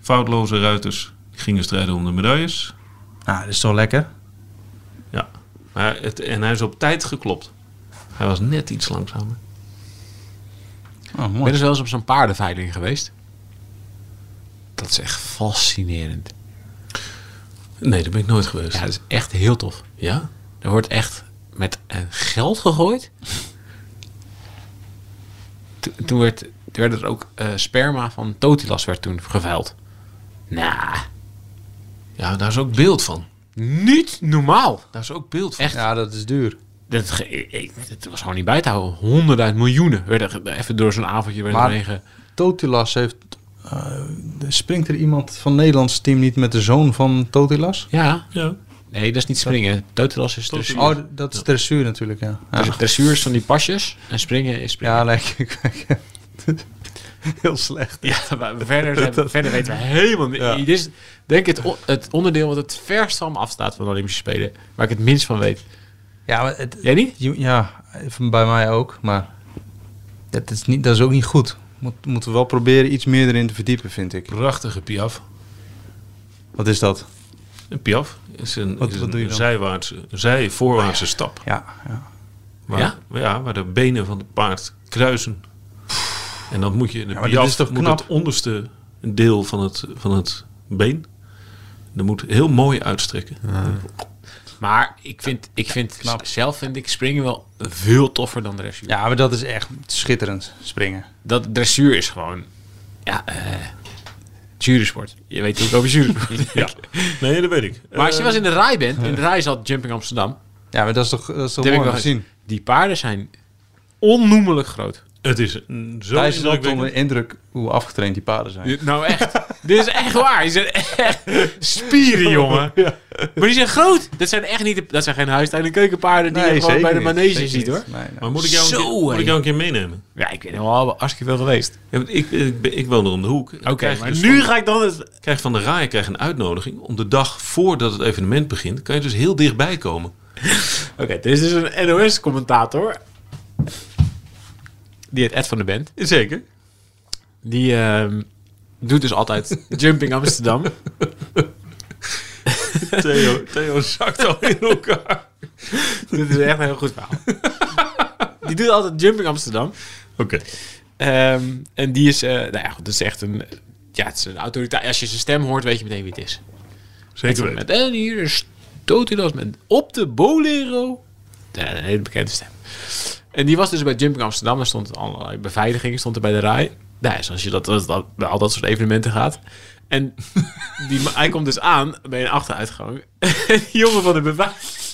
S1: foutloze ruiters. Die gingen strijden om de medailles.
S3: Nou, dat is toch lekker?
S1: Ja. Maar het, en hij is op tijd geklopt. Hij was net iets langzamer.
S3: Oh,
S2: Ik ben
S3: mooi.
S2: dus wel eens op zo'n paardenveiling geweest. Dat is echt fascinerend.
S1: Nee, daar ben ik nooit geweest.
S2: Ja,
S1: Ja?
S2: dat is echt heel tof. Er wordt echt met eh, geld gegooid. Toen, toen werd, werd er ook eh, sperma van Totilas werd toen gevuild. Nou,
S1: Ja, daar is ook beeld van.
S2: niet normaal.
S1: Daar is ook beeld van.
S2: Echt.
S3: Ja, dat is duur.
S2: Dat, ge- ik- ik- dat was gewoon niet bij te houden. Honderduit miljoenen. Werden ge- even door zo'n avondje werden
S3: Maar-
S2: erin ge-
S3: Totilas heeft... eh, springt er iemand van het Nederlands team niet met de zoon van Totilas?
S2: Ja.
S1: Ja.
S2: Nee, dat is niet springen. Totilas is dus.
S3: Oh, d- dat is dressuur natuurlijk, ja. Ja,
S2: Dressuur is van die pasjes. En springen is springen.
S3: ja nee, ik- ik- Heel slecht.
S2: Ja, maar verder, zijn- verder weten we helemaal niet. Dit is denk ik het, o- het onderdeel wat het verst van me afstaat van de Olympische Spelen. Waar ik het minst van weet.
S3: Ja, maar het,
S2: Jij niet?
S3: Je- Ja, van bij mij ook, maar dat is, niet, dat is ook niet goed. Moet, moeten we wel proberen iets meer erin te verdiepen, vind ik.
S1: Prachtige piaf.
S3: Wat is dat?
S1: En Piaf is een,
S3: Wat-
S1: is
S3: wat
S1: een
S3: doe je dan?
S1: zijwaartse, zijvoorwaartse stap.
S3: Ja, ja.
S1: Waar,
S2: Ja?
S1: waar de benen van het paard kruisen. En dan moet je in de
S3: Ja, maar dit
S1: piaf
S3: is toch
S1: moet
S3: knap?
S1: het onderste deel van het, van het been. Dat moet heel mooi uitstrekken.
S2: Maar ik vind, ik vind
S3: Knap.
S2: zelf vind ik springen wel veel toffer dan dressuur.
S3: ja, maar dat is echt schitterend springen.
S2: Dat dressuur is gewoon, ja, eh jurysport. Je weet hoe ik over jurysport
S1: Ja. Nee, dat weet ik.
S2: Maar als je
S1: Eh,
S2: was in de rij bent, in de rij zat Jumping Amsterdam.
S3: Ja, maar dat is toch, dat is toch
S2: Dat heb ik
S3: mooi
S2: wel
S3: om te zien.
S2: gezien. Die paarden zijn onnoemelijk groot.
S1: het is een, zo
S3: Daar is het
S1: indrukwekkend.
S3: onder de indruk hoe afgetraind die paarden zijn.
S2: Nou echt. Dit is echt waar. Die zijn echt spieren, jongen. Maar die zijn groot. Dat zijn echt niet de- dat zijn geen huistuin- en keukenpaarden die je gewoon bij de
S3: niet.
S2: manege
S3: Zeker
S2: ziet, hoor.
S3: niet. Nee, nee.
S1: Maar moet ik jou,
S2: Zo,
S1: een, keer, moet
S2: hé.
S1: ik jou een keer meenemen?
S2: Ja, ik ben er al hartstikke veel geweest. dus
S1: Ja, want ik, ik, ben- ik woon er om de hoek.
S2: Oké, maar
S1: nu
S2: nu ga ik dan... eens-
S1: krijg van de RAI krijg een uitnodiging. Om de dag voordat het evenement begint, kan je dus heel dichtbij komen.
S2: Oké, dit is dus een NOS-commentator. Die heet Ed van de Band.
S1: Zeker.
S2: Die ehm, doet dus altijd Jumping Amsterdam.
S1: Theo, Theo zakt al in elkaar.
S2: Dit is echt een heel goed verhaal. Die doet altijd Jumping Amsterdam.
S1: Oké.
S2: Ehm, en die is, eh, nou ja, goed, dat is echt een, ja, het is een autoriteit. Als je zijn stem hoort, weet je meteen wie het is.
S1: Zeker weten.
S2: Met, en hier stoot hij dat met op de bolero. Ja, een hele bekende stem. En die was dus bij Jumping Amsterdam. Daar stond allerlei beveiliging, stond er bij de RAI. Nou, ja, zoals je dat, dat, dat- bij al dat soort evenementen gaat. En die, ma- hij komt dus aan bij een achteruitgang. En die jongen van de beveiliging...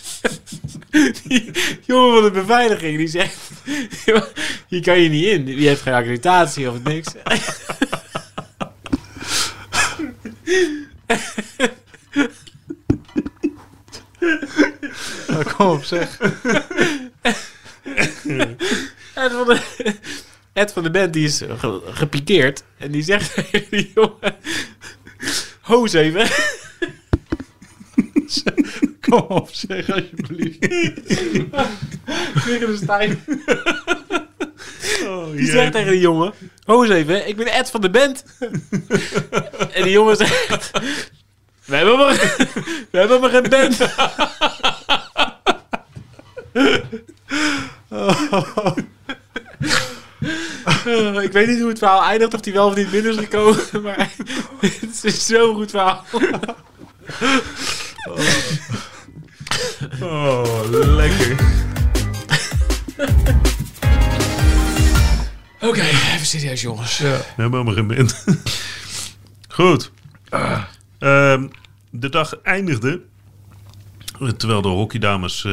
S2: Die jongen van de beveiliging, die zegt... Hier kan je niet in. Die heeft geen accreditatie of niks.
S3: Nou, kom op, zeg.
S2: Ed van de, Ed van de band die is ge- gepikeerd. En die zegt tegen die jongen... Hoos even.
S3: Kom op, zeg alsjeblieft.
S2: Tegen de Stijn.
S3: Oh,
S2: Die zegt tegen die jongen... Hoos even, ik ben Ed van de band. en die jongen zegt... We hebben maar, we hebben maar geen band. Eh, ik weet niet hoe het verhaal eindigt, of hij wel of niet binnen is gekomen, maar het is zo'n goed verhaal.
S1: Oh, lekker.
S2: Oké, even serieus jongens.
S1: Nee, maar geen band. Goed. Ehm, de dag eindigde. eh, Terwijl de hockeydames eh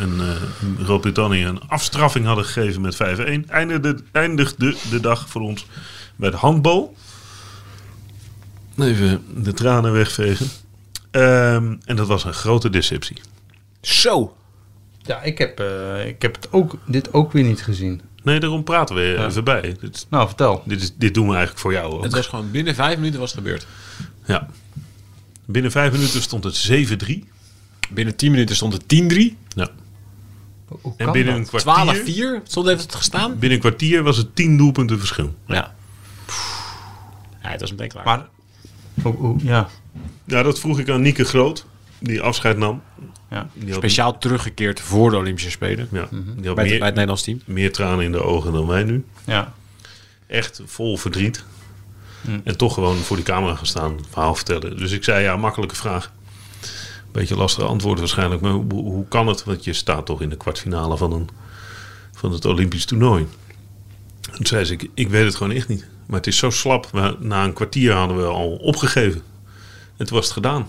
S1: een, eh, Groot-Brittannië een afstraffing hadden gegeven met 5-1. Eindigde, eindigde de dag voor ons met handbal. Even de tranen wegvegen. Ehm, en dat was een grote deceptie.
S2: Zo.
S3: Ja, ik heb, eh, ik heb het ook, dit ook weer niet gezien.
S1: Nee, daarom praten we even bij. Dit,
S3: Nou, vertel.
S1: dit, is, dit doen we eigenlijk voor jou ook.
S2: Het was gewoon binnen vijf minuten was het gebeurd.
S1: Ja. Binnen vijf minuten stond het 7-3.
S2: Binnen tien minuten stond het 10-3.
S1: Ja.
S3: Hoe
S1: En
S3: kan
S1: binnen een,
S3: dat?
S1: kwartier,
S2: 12-4. Stond heeft het gestaan?
S1: binnen een kwartier was het 10 doelpunten verschil.
S2: Ja. Pff. Ja, het was meteen klaar.
S3: Maar, hoe- hoe- ja.
S1: Ja, dat vroeg ik aan Nieke Groot, die afscheid nam.
S3: ja.
S1: Die had,
S2: Speciaal teruggekeerd voor de Olympische Spelen.
S1: ja, die had
S2: Bij, het, bij
S1: meer,
S2: het Nederlands team.
S1: meer tranen in de ogen dan wij nu.
S3: Ja.
S1: Echt vol verdriet.
S3: Hm.
S1: En toch gewoon voor die camera gaan staan, verhaal vertellen. Dus ik zei, ja, makkelijke vraag. Beetje lastige antwoord waarschijnlijk. Maar hoe, hoe kan het? Want je staat toch in de kwartfinale van, een, van het Olympisch toernooi. Toen zei ze, ik, ik weet het gewoon echt niet. Maar het is zo slap. We- na een kwartier hadden we al opgegeven. En toen was het gedaan.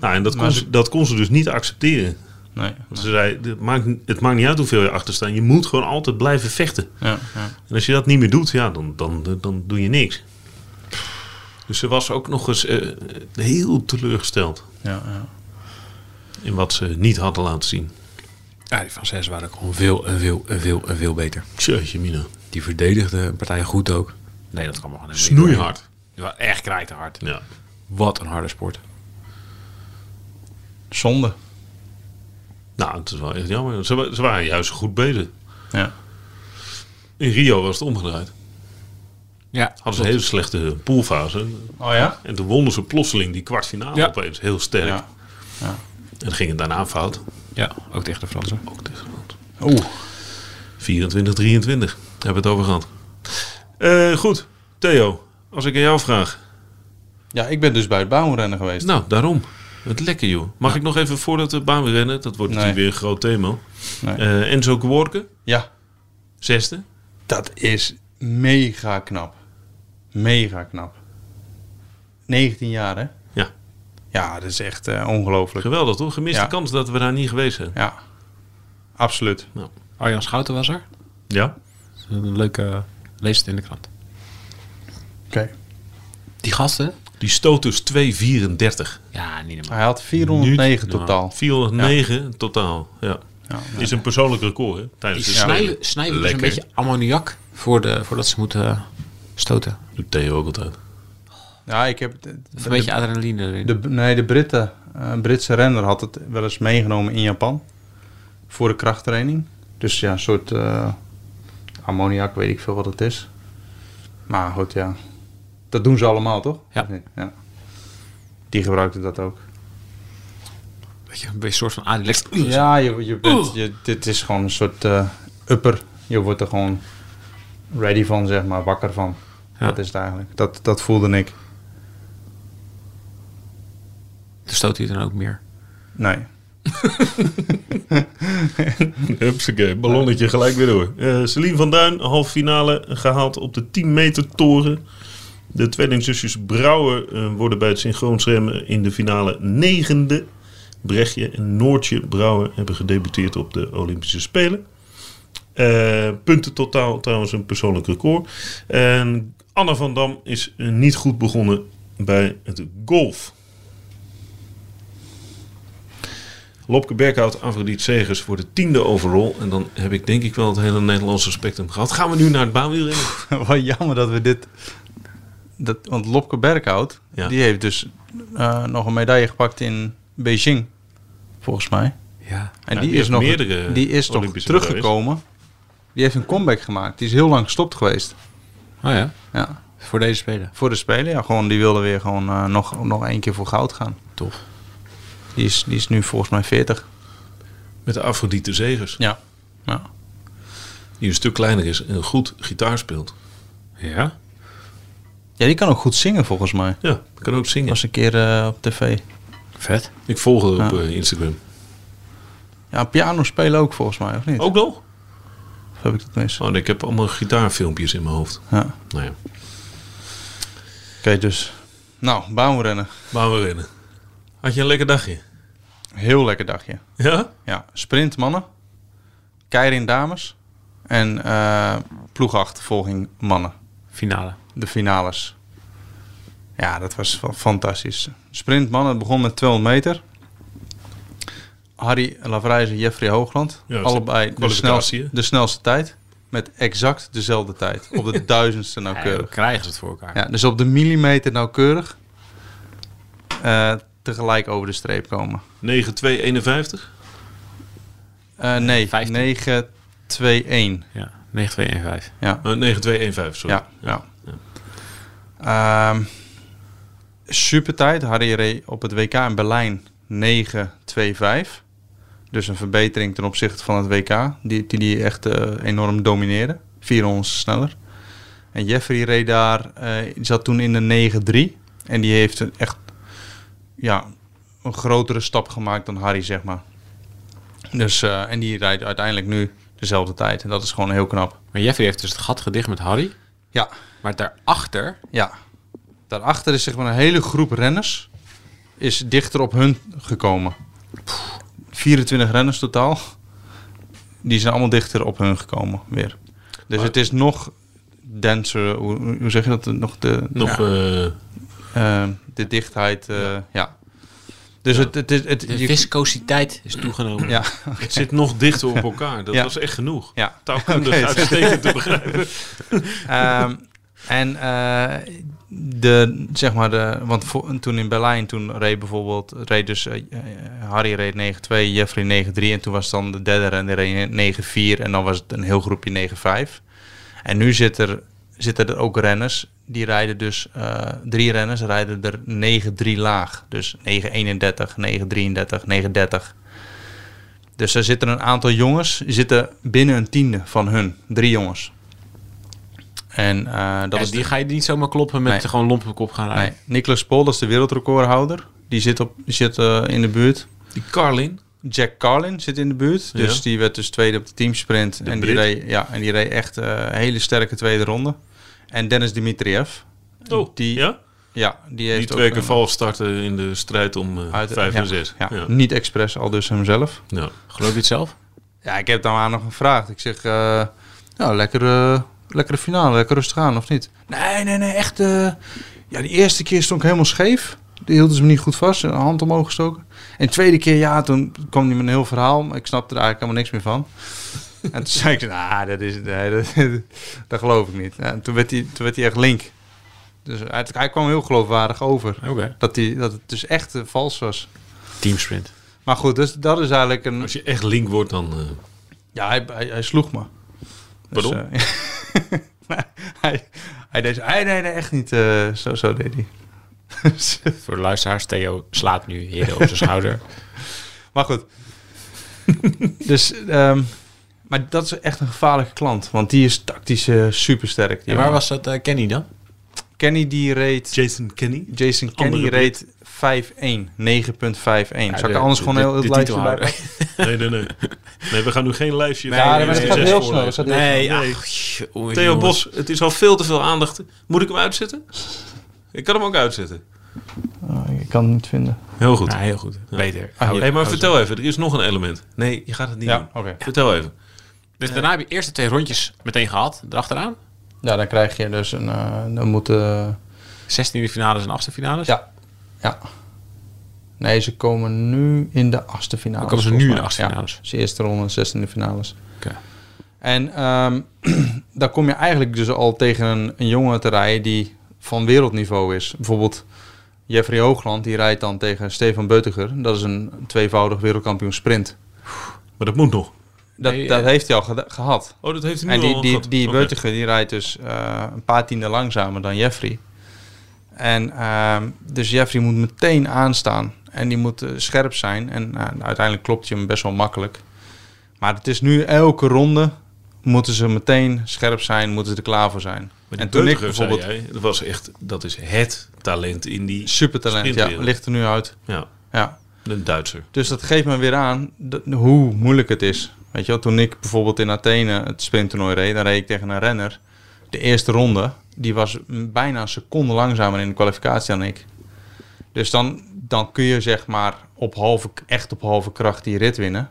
S1: Nou, en dat kon,
S3: Maar
S1: ze, dat kon ze dus niet accepteren.
S3: Nee.
S1: Want Ze zei, het maakt, het maakt niet uit hoeveel je achter staat. Je moet gewoon altijd blijven vechten.
S3: Ja, ja.
S1: En als je dat niet meer doet, ja, dan, dan, dan doe je niks. Dus ze was ook nog eens eh, heel teleurgesteld
S3: ja, ja.
S1: in wat ze niet hadden laten zien.
S2: Ja, die Fransezen waren ook gewoon veel en veel en veel en veel beter.
S1: Tjeetje, Mina.
S2: Die verdedigden een partij goed ook. Nee, dat kan maar gewoon helemaal niet.
S1: Snoeihard.
S2: Die waren echt krijtenhard.
S1: Ja.
S2: Wat een harde sport.
S3: Zonde.
S1: Nou, het is wel echt jammer. Ze, wa- ze waren juist goed bezig.
S3: Ja.
S1: In Rio was het omgedraaid.
S2: Ja,
S1: Hadden ze een hele slechte eh, poolfase.
S3: Oh ja?
S1: En toen wonnen ze plotseling die kwartfinale
S2: Ja.
S1: opeens heel sterk.
S3: Ja. Ja.
S1: En dan ging het daarna fout.
S2: ja, ook tegen de Fransen.
S1: Ook tegen Nederland.
S3: Oeh.
S1: 24, 23. Hebben we het over gehad. Eh, goed, Theo. Als ik aan jou vraag.
S3: Ja, ik ben dus bij het baanrennen geweest.
S1: Nou, daarom. Het lekker joh. Mag ik nog even voordat we baan weer rennen? Dat wordt
S3: Nee.
S1: natuurlijk weer een groot thema.
S3: Nee.
S1: Eh, Enzo Gworke,
S3: Ja,
S1: zesde.
S3: dat is mega knap. Mega knap. 19 jaar, hè?
S1: Ja.
S3: Ja, dat is echt eh, ongelooflijk.
S1: Geweldig toch? Gemiste
S3: Ja.
S1: kans dat we daar niet geweest zijn.
S3: Ja, absoluut.
S2: Arjan Schouten was er.
S1: Ja?
S2: Een leuke lees het in de krant.
S3: Oké.
S2: Die gasten?
S1: Die stoot dus 2,34.
S2: Ja, niet normaal.
S3: Hij had 409
S1: Nou,
S3: totaal.
S1: 409 totaal. Ja.
S3: Ja,
S1: Is een persoonlijk record hè? tijdens
S2: Die
S1: de
S2: snijden,
S1: Spelen.
S2: snijden dus een
S1: Lekker.
S2: beetje ammoniak voor de, voordat ze moeten eh, stoten.
S1: Doet Theo ook altijd.
S3: ja, ik heb... De,
S2: Of een beetje adrenaline erin.
S3: de, nee, de Britten, eh, Britse renner had het wel eens meegenomen in Japan. Voor de krachttraining. Dus ja, een soort eh, ammoniak, weet ik veel wat het is. Maar goed, ja. Dat doen ze allemaal, toch?
S2: Ja.
S3: Of niet? ja. Die gebruikte dat ook.
S2: Weet je, een beetje een soort van Adilex.
S3: Ja, je, je bent, je, dit is gewoon een soort eh, upper. Je wordt er gewoon ready van, zeg maar, wakker van.
S2: Ja.
S3: Dat is het eigenlijk. Dat, dat voelde ik.
S2: Dan stoot hij dan ook meer.
S3: Nee.
S1: Hupsakee, ballonnetje gelijk weer door. Eh Celine van Duin, halve finale gehaald op de 10 meter toren. De tweelingzusjes Brouwer eh, worden bij het synchroonschermen in de finale negende. Brechtje en Noortje Brouwer hebben gedebuteerd op de Olympische Spelen. Eh, punten totaal trouwens een persoonlijk record. En Anna van Dam is eh, niet goed begonnen bij het golf. Lopke Berkhout, Afrodite Segers voor de tiende overall. En dan heb ik denk ik wel het hele Nederlandse spectrum gehad. Gaan we nu naar het baanwielrennen?
S3: Wat jammer dat we dit... Dat, want Lopke Berkhout,
S1: Ja.
S3: die heeft dus eh, nog een medaille gepakt in Beijing, volgens mij.
S2: Ja.
S3: En die,
S1: Ja, die
S3: is
S1: heeft
S3: nog,
S1: meerdere
S3: die is toch
S1: Olympische
S3: teruggekomen. Die heeft een comeback gemaakt. Die is heel lang gestopt geweest.
S2: Oh ja,
S3: Ja.
S2: voor deze spelen.
S3: Voor de Spelen, ja. Gewoon, die wilde weer gewoon eh, nog, nog één keer voor goud gaan.
S2: Tof.
S3: Die is, die is nu volgens mij 40.
S1: Met de Afrodite Segers.
S3: Ja. ja.
S1: Die een stuk kleiner is en goed gitaar speelt.
S2: Ja?
S3: Ja, die kan ook goed zingen volgens mij.
S1: Ja, kan ook zingen.
S3: Was een keer eh, op tv.
S2: Vet.
S1: Ik volg haar op
S3: Ja.
S1: eh, Instagram.
S3: Ja, piano spelen ook volgens mij, of niet?
S1: Ook nog?
S3: Of heb ik dat mis?
S1: Oh, nee, ik heb allemaal gitaarfilmpjes in mijn hoofd.
S3: Ja. Oké,
S1: Nou ja,
S3: dus. Nou, baanrennen.
S1: baanwielrennen. Had je een lekker dagje?
S3: Heel lekker dagje.
S1: Ja?
S3: Ja, sprint mannen. Keirin dames. En eh ploegachtervolging mannen.
S2: Finale.
S3: De finales. Ja, dat was fa- fantastisch. Sprint mannen het begon met 200 meter. Harry Lavrijzen en Jeffrey Hoogland.
S1: Ja, dat is
S3: allebei de
S1: kwalificatie,
S3: snelste,
S1: hè?
S3: de snelste tijd. Met exact dezelfde tijd. Op de duizendste
S1: eh,
S3: nauwkeurig.
S2: krijgen ze het voor elkaar.
S3: Ja, dus op de millimeter nauwkeurig eh, tegelijk over de streep komen.
S1: 9251.
S3: Eh, nee,
S2: 15.
S3: 9, 2, 1.
S2: Ja, 9, 2, 1, 5.
S3: Ja,
S1: Eh 9215, sorry.
S3: ja, ja. Ehm, super tijd. Harry reed op het WK in Berlijn 9, 2, 5. Dus een verbetering ten opzichte van het WK. Die die, die echt eh, enorm domineerde. 400 sneller. En Jeffrey reed daar, eh, die zat toen in de 9-3. En die heeft een echt ja, een grotere stap gemaakt dan Harry, zeg maar. Dus, eh, en die rijdt uiteindelijk nu dezelfde tijd. En dat is gewoon heel knap.
S2: Maar Jeffrey heeft dus het gat gedicht met Harry.
S3: Ja,
S2: Maar daarachter...
S3: ja. Daarachter is zeg maar een hele groep renners is dichter op hun gekomen. 24 renners totaal. Die zijn allemaal dichter op hun gekomen weer. Dus het is nog denser, hoe, hoe zeg je dat? Nog de,
S1: Nog,
S3: ja,
S1: eh,
S3: eh, de dichtheid, eh, ja. Dus het, het, is het,
S2: De
S3: je-
S2: viscositeit is toegenomen.
S3: ja,
S1: het zit nog dichter op
S4: Nou,
S1: elkaar. Dat
S3: Ja.
S1: was echt genoeg.
S3: ja.
S1: Taalkundig
S3: Oké.
S1: dus uitstekend te begrijpen.
S3: Ehm, en eh, de, zeg maar de, want voor- toen in Berlijn, toen reed bijvoorbeeld, reed dus eh, eh, Harry reed 9-2, Jeffrey 9-3 en toen was dan de derde en die reed 9-4 en dan was het een heel groepje 9-5. En nu zit er zitten er ook renners. Die rijden dus, eh, drie renners rijden er 9-3 laag. Dus 9-31, 9-33, 9-30. Dus er zitten een aantal jongens, zitten binnen een tiende van hun. Drie jongens. En eh, dat
S2: Ja,
S3: is
S2: die
S3: de-
S2: ga je niet zomaar kloppen met
S3: Nee.
S2: gewoon lomp op kop gaan
S3: Nee,
S2: rijden.
S3: Niklas Pol, dat is de wereldrecordhouder. Die zit, op, zit eh, in de buurt.
S1: Die Carlin.
S3: Jack Carlin zit in de buurt. Dus
S1: Ja.
S3: die werd dus tweede op de teamsprint. en, die
S1: Brit.
S3: reed, ja, en die reed echt eh, een hele sterke tweede ronde. En Dennis Dimitriev.
S1: Oh,
S3: Die-
S1: ja?
S3: Ja, die
S1: Die
S3: heeft
S1: twee
S3: ook
S1: keer
S3: een-
S1: vals starten in de strijd om eh,
S3: uit-
S1: vijf
S3: ja,
S1: en zes.
S3: Ja,
S1: ja.
S3: Niet expres, al dus hemzelf.
S1: Ja.
S2: Geloof je het zelf?
S3: Ja, ik heb het aan haar nog gevraagd. Ik zeg, eh nou, lekker, eh, lekkere finale, lekker rustig aan, of niet? Nee, nee, nee, echt. eh, ja, die eerste keer stond ik helemaal scheef. Die hielden ze me niet goed vast, een hand omhoog gestoken. En de tweede keer, ja, toen kwam hij met een heel verhaal. Maar ik snapte er eigenlijk helemaal niks meer van. En toen zei ik, nou, dat is nee, dat, dat geloof ik niet. Ja, En toen werd hij, toen werd hij echt link. Dus hij, hij kwam heel geloofwaardig over.
S2: Oké.
S3: Dat, hij, dat het dus echt eh, vals was.
S2: Teamsprint.
S3: Maar goed, dus dat is eigenlijk een...
S1: Als je echt link wordt, dan... eh,
S3: Ja, hij, hij, hij sloeg me.
S1: Pardon?
S3: eh, nee, hij, hij deed zo, "Hey, nee, nee, echt niet. eh, zo, zo deed hij. Dus,
S2: Voor de luisteraars, Theo slaat nu hier op zijn schouder.
S3: maar goed. dus, ehm, maar dat is echt een gevaarlijke klant. Want die is tactisch eh, supersterk. Die
S2: En waar
S3: jongen.
S2: was dat eh, Kenny dan?
S3: Kenny die reed...
S1: Jason Kenny?
S3: Jason Kenny
S1: andere
S3: reed 5-1. 9.51. Zou ik
S2: de-
S3: er anders
S2: de-
S3: gewoon heel
S2: de
S3: het lijstje bij
S2: titelhouder.
S3: pakken?
S1: Nee, nee, nee. Nee, we gaan nu geen lijstje.
S2: Ja,
S1: van
S2: maar
S1: de
S2: dat gaat
S1: zes
S3: heel
S1: voorlezen.
S3: snel, dat
S2: Nee,
S1: Nee.
S2: ach, jongen,
S1: Theo
S2: jongens.
S1: Bos, het is al veel te veel aandacht. Moet ik hem uitzetten? Ik kan hem ook uitzetten.
S3: ik kan het niet vinden.
S1: Heel goed.
S2: Nou, heel goed. Beter.
S1: Hé, maar vertel even, er is nog een element. Nee, je gaat het niet
S3: Ja,
S1: doen.
S3: oké.
S1: Vertel even.
S2: Dus daarna heb je eerst de twee rondjes meteen gehad. Erachteraan.
S3: Ja, dan krijg je dus een... eh, dan moeten...
S2: 16e finales en 8e finales.
S3: Ja. Ja. Nee, ze komen nu in de achtste finale.
S2: Dan komen ze nu in de achtste finales.
S3: Ja, de eerste ronde en zestiende finales.
S2: Oké.
S3: En ehm dan kom je eigenlijk dus al tegen een, een jongen te rijden die van wereldniveau is. Bijvoorbeeld Jeffrey Hoogland, die rijdt dan tegen Stefan Beutiger. Dat is een tweevoudig wereldkampioen sprint.
S1: Maar dat moet nog.
S3: Dat,
S2: Nee,
S3: dat
S2: eh,
S3: heeft hij al geda- gehad.
S1: Oh, dat heeft hij nu
S3: En die,
S1: al
S3: die,
S1: gehad.
S3: die
S1: Oké.
S3: Beutiger die rijdt dus eh, een paar tienden langzamer dan Jeffrey. En ehm, dus Jeffrey moet meteen aanstaan. En die moet eh, scherp zijn. En nou, uiteindelijk klopt je hem best wel makkelijk. Maar het is nu elke ronde moeten ze meteen scherp zijn, moeten ze er klaar voor zijn.
S1: Maar die
S3: en toen ik
S1: Beutiger, zei
S3: bijvoorbeeld
S1: jij, dat, was echt, dat is het talent in die...
S3: supertalent, ja,
S1: Sprintwereld.
S3: ligt er nu uit.
S1: Ja,
S3: Ja.
S1: een Duitser.
S3: Dus dat geeft me weer aan dat- hoe moeilijk het is. Weet je wel, toen ik bijvoorbeeld in Athene het sprinttoernooi reed, dan reed ik tegen een renner. De eerste ronde, die was m- bijna een seconde langzamer in de kwalificatie dan ik. Dus dan, dan kun je zeg maar op halve, echt op halve kracht die rit winnen.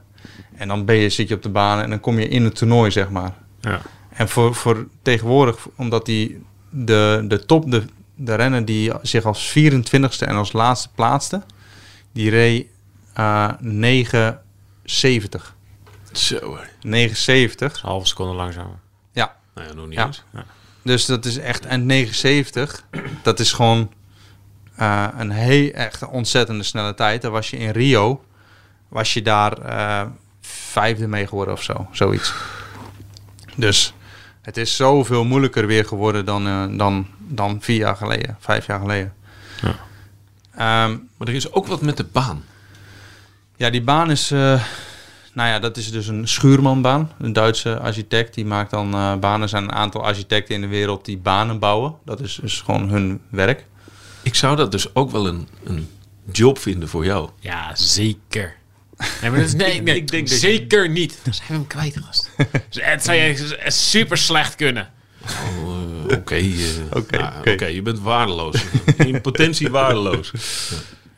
S3: En dan ben je, zit je op de baan en dan kom je in het toernooi zeg maar.
S2: Ja.
S3: En voor, voor tegenwoordig, omdat die de, de top, de, de renner die zich als 24ste en als laatste plaatste, die reed eh 970.
S1: Zo hè.
S3: 970.
S2: Halve seconde langzamer.
S3: Ja,
S1: Nou ja, nog niet
S3: Ja.
S1: eens.
S3: dus dat is echt. En 970, dat is gewoon eh, een heel, echt een ontzettende snelle tijd. Daar was je in Rio, was je daar eh, vijfde mee geworden of zo, zoiets. Dus het is zoveel moeilijker weer geworden dan, eh, dan, dan vier jaar geleden, vijf jaar geleden. Ehm, Ja.
S1: Maar er is ook wat met de baan.
S3: Ja, die baan is. eh, nou ja, dat is dus een schuurmanbaan. Een Duitse architect. Die maakt dan eh, banen. Er zijn een aantal architecten in de wereld die banen bouwen. Dat is dus gewoon hun werk.
S1: Ik zou dat dus ook wel een, een job vinden voor jou.
S2: Ja, zeker. Nee, maar dat is, nee, nee,
S1: Ik denk dat je-
S2: zeker niet. Dan zijn we hem kwijt, gast. Dus het zou je super slecht kunnen.
S1: Oh, eh, Oké, eh,
S3: Oké,
S1: nou,
S3: oké.
S1: oké, je bent waardeloos. In potentie waardeloos.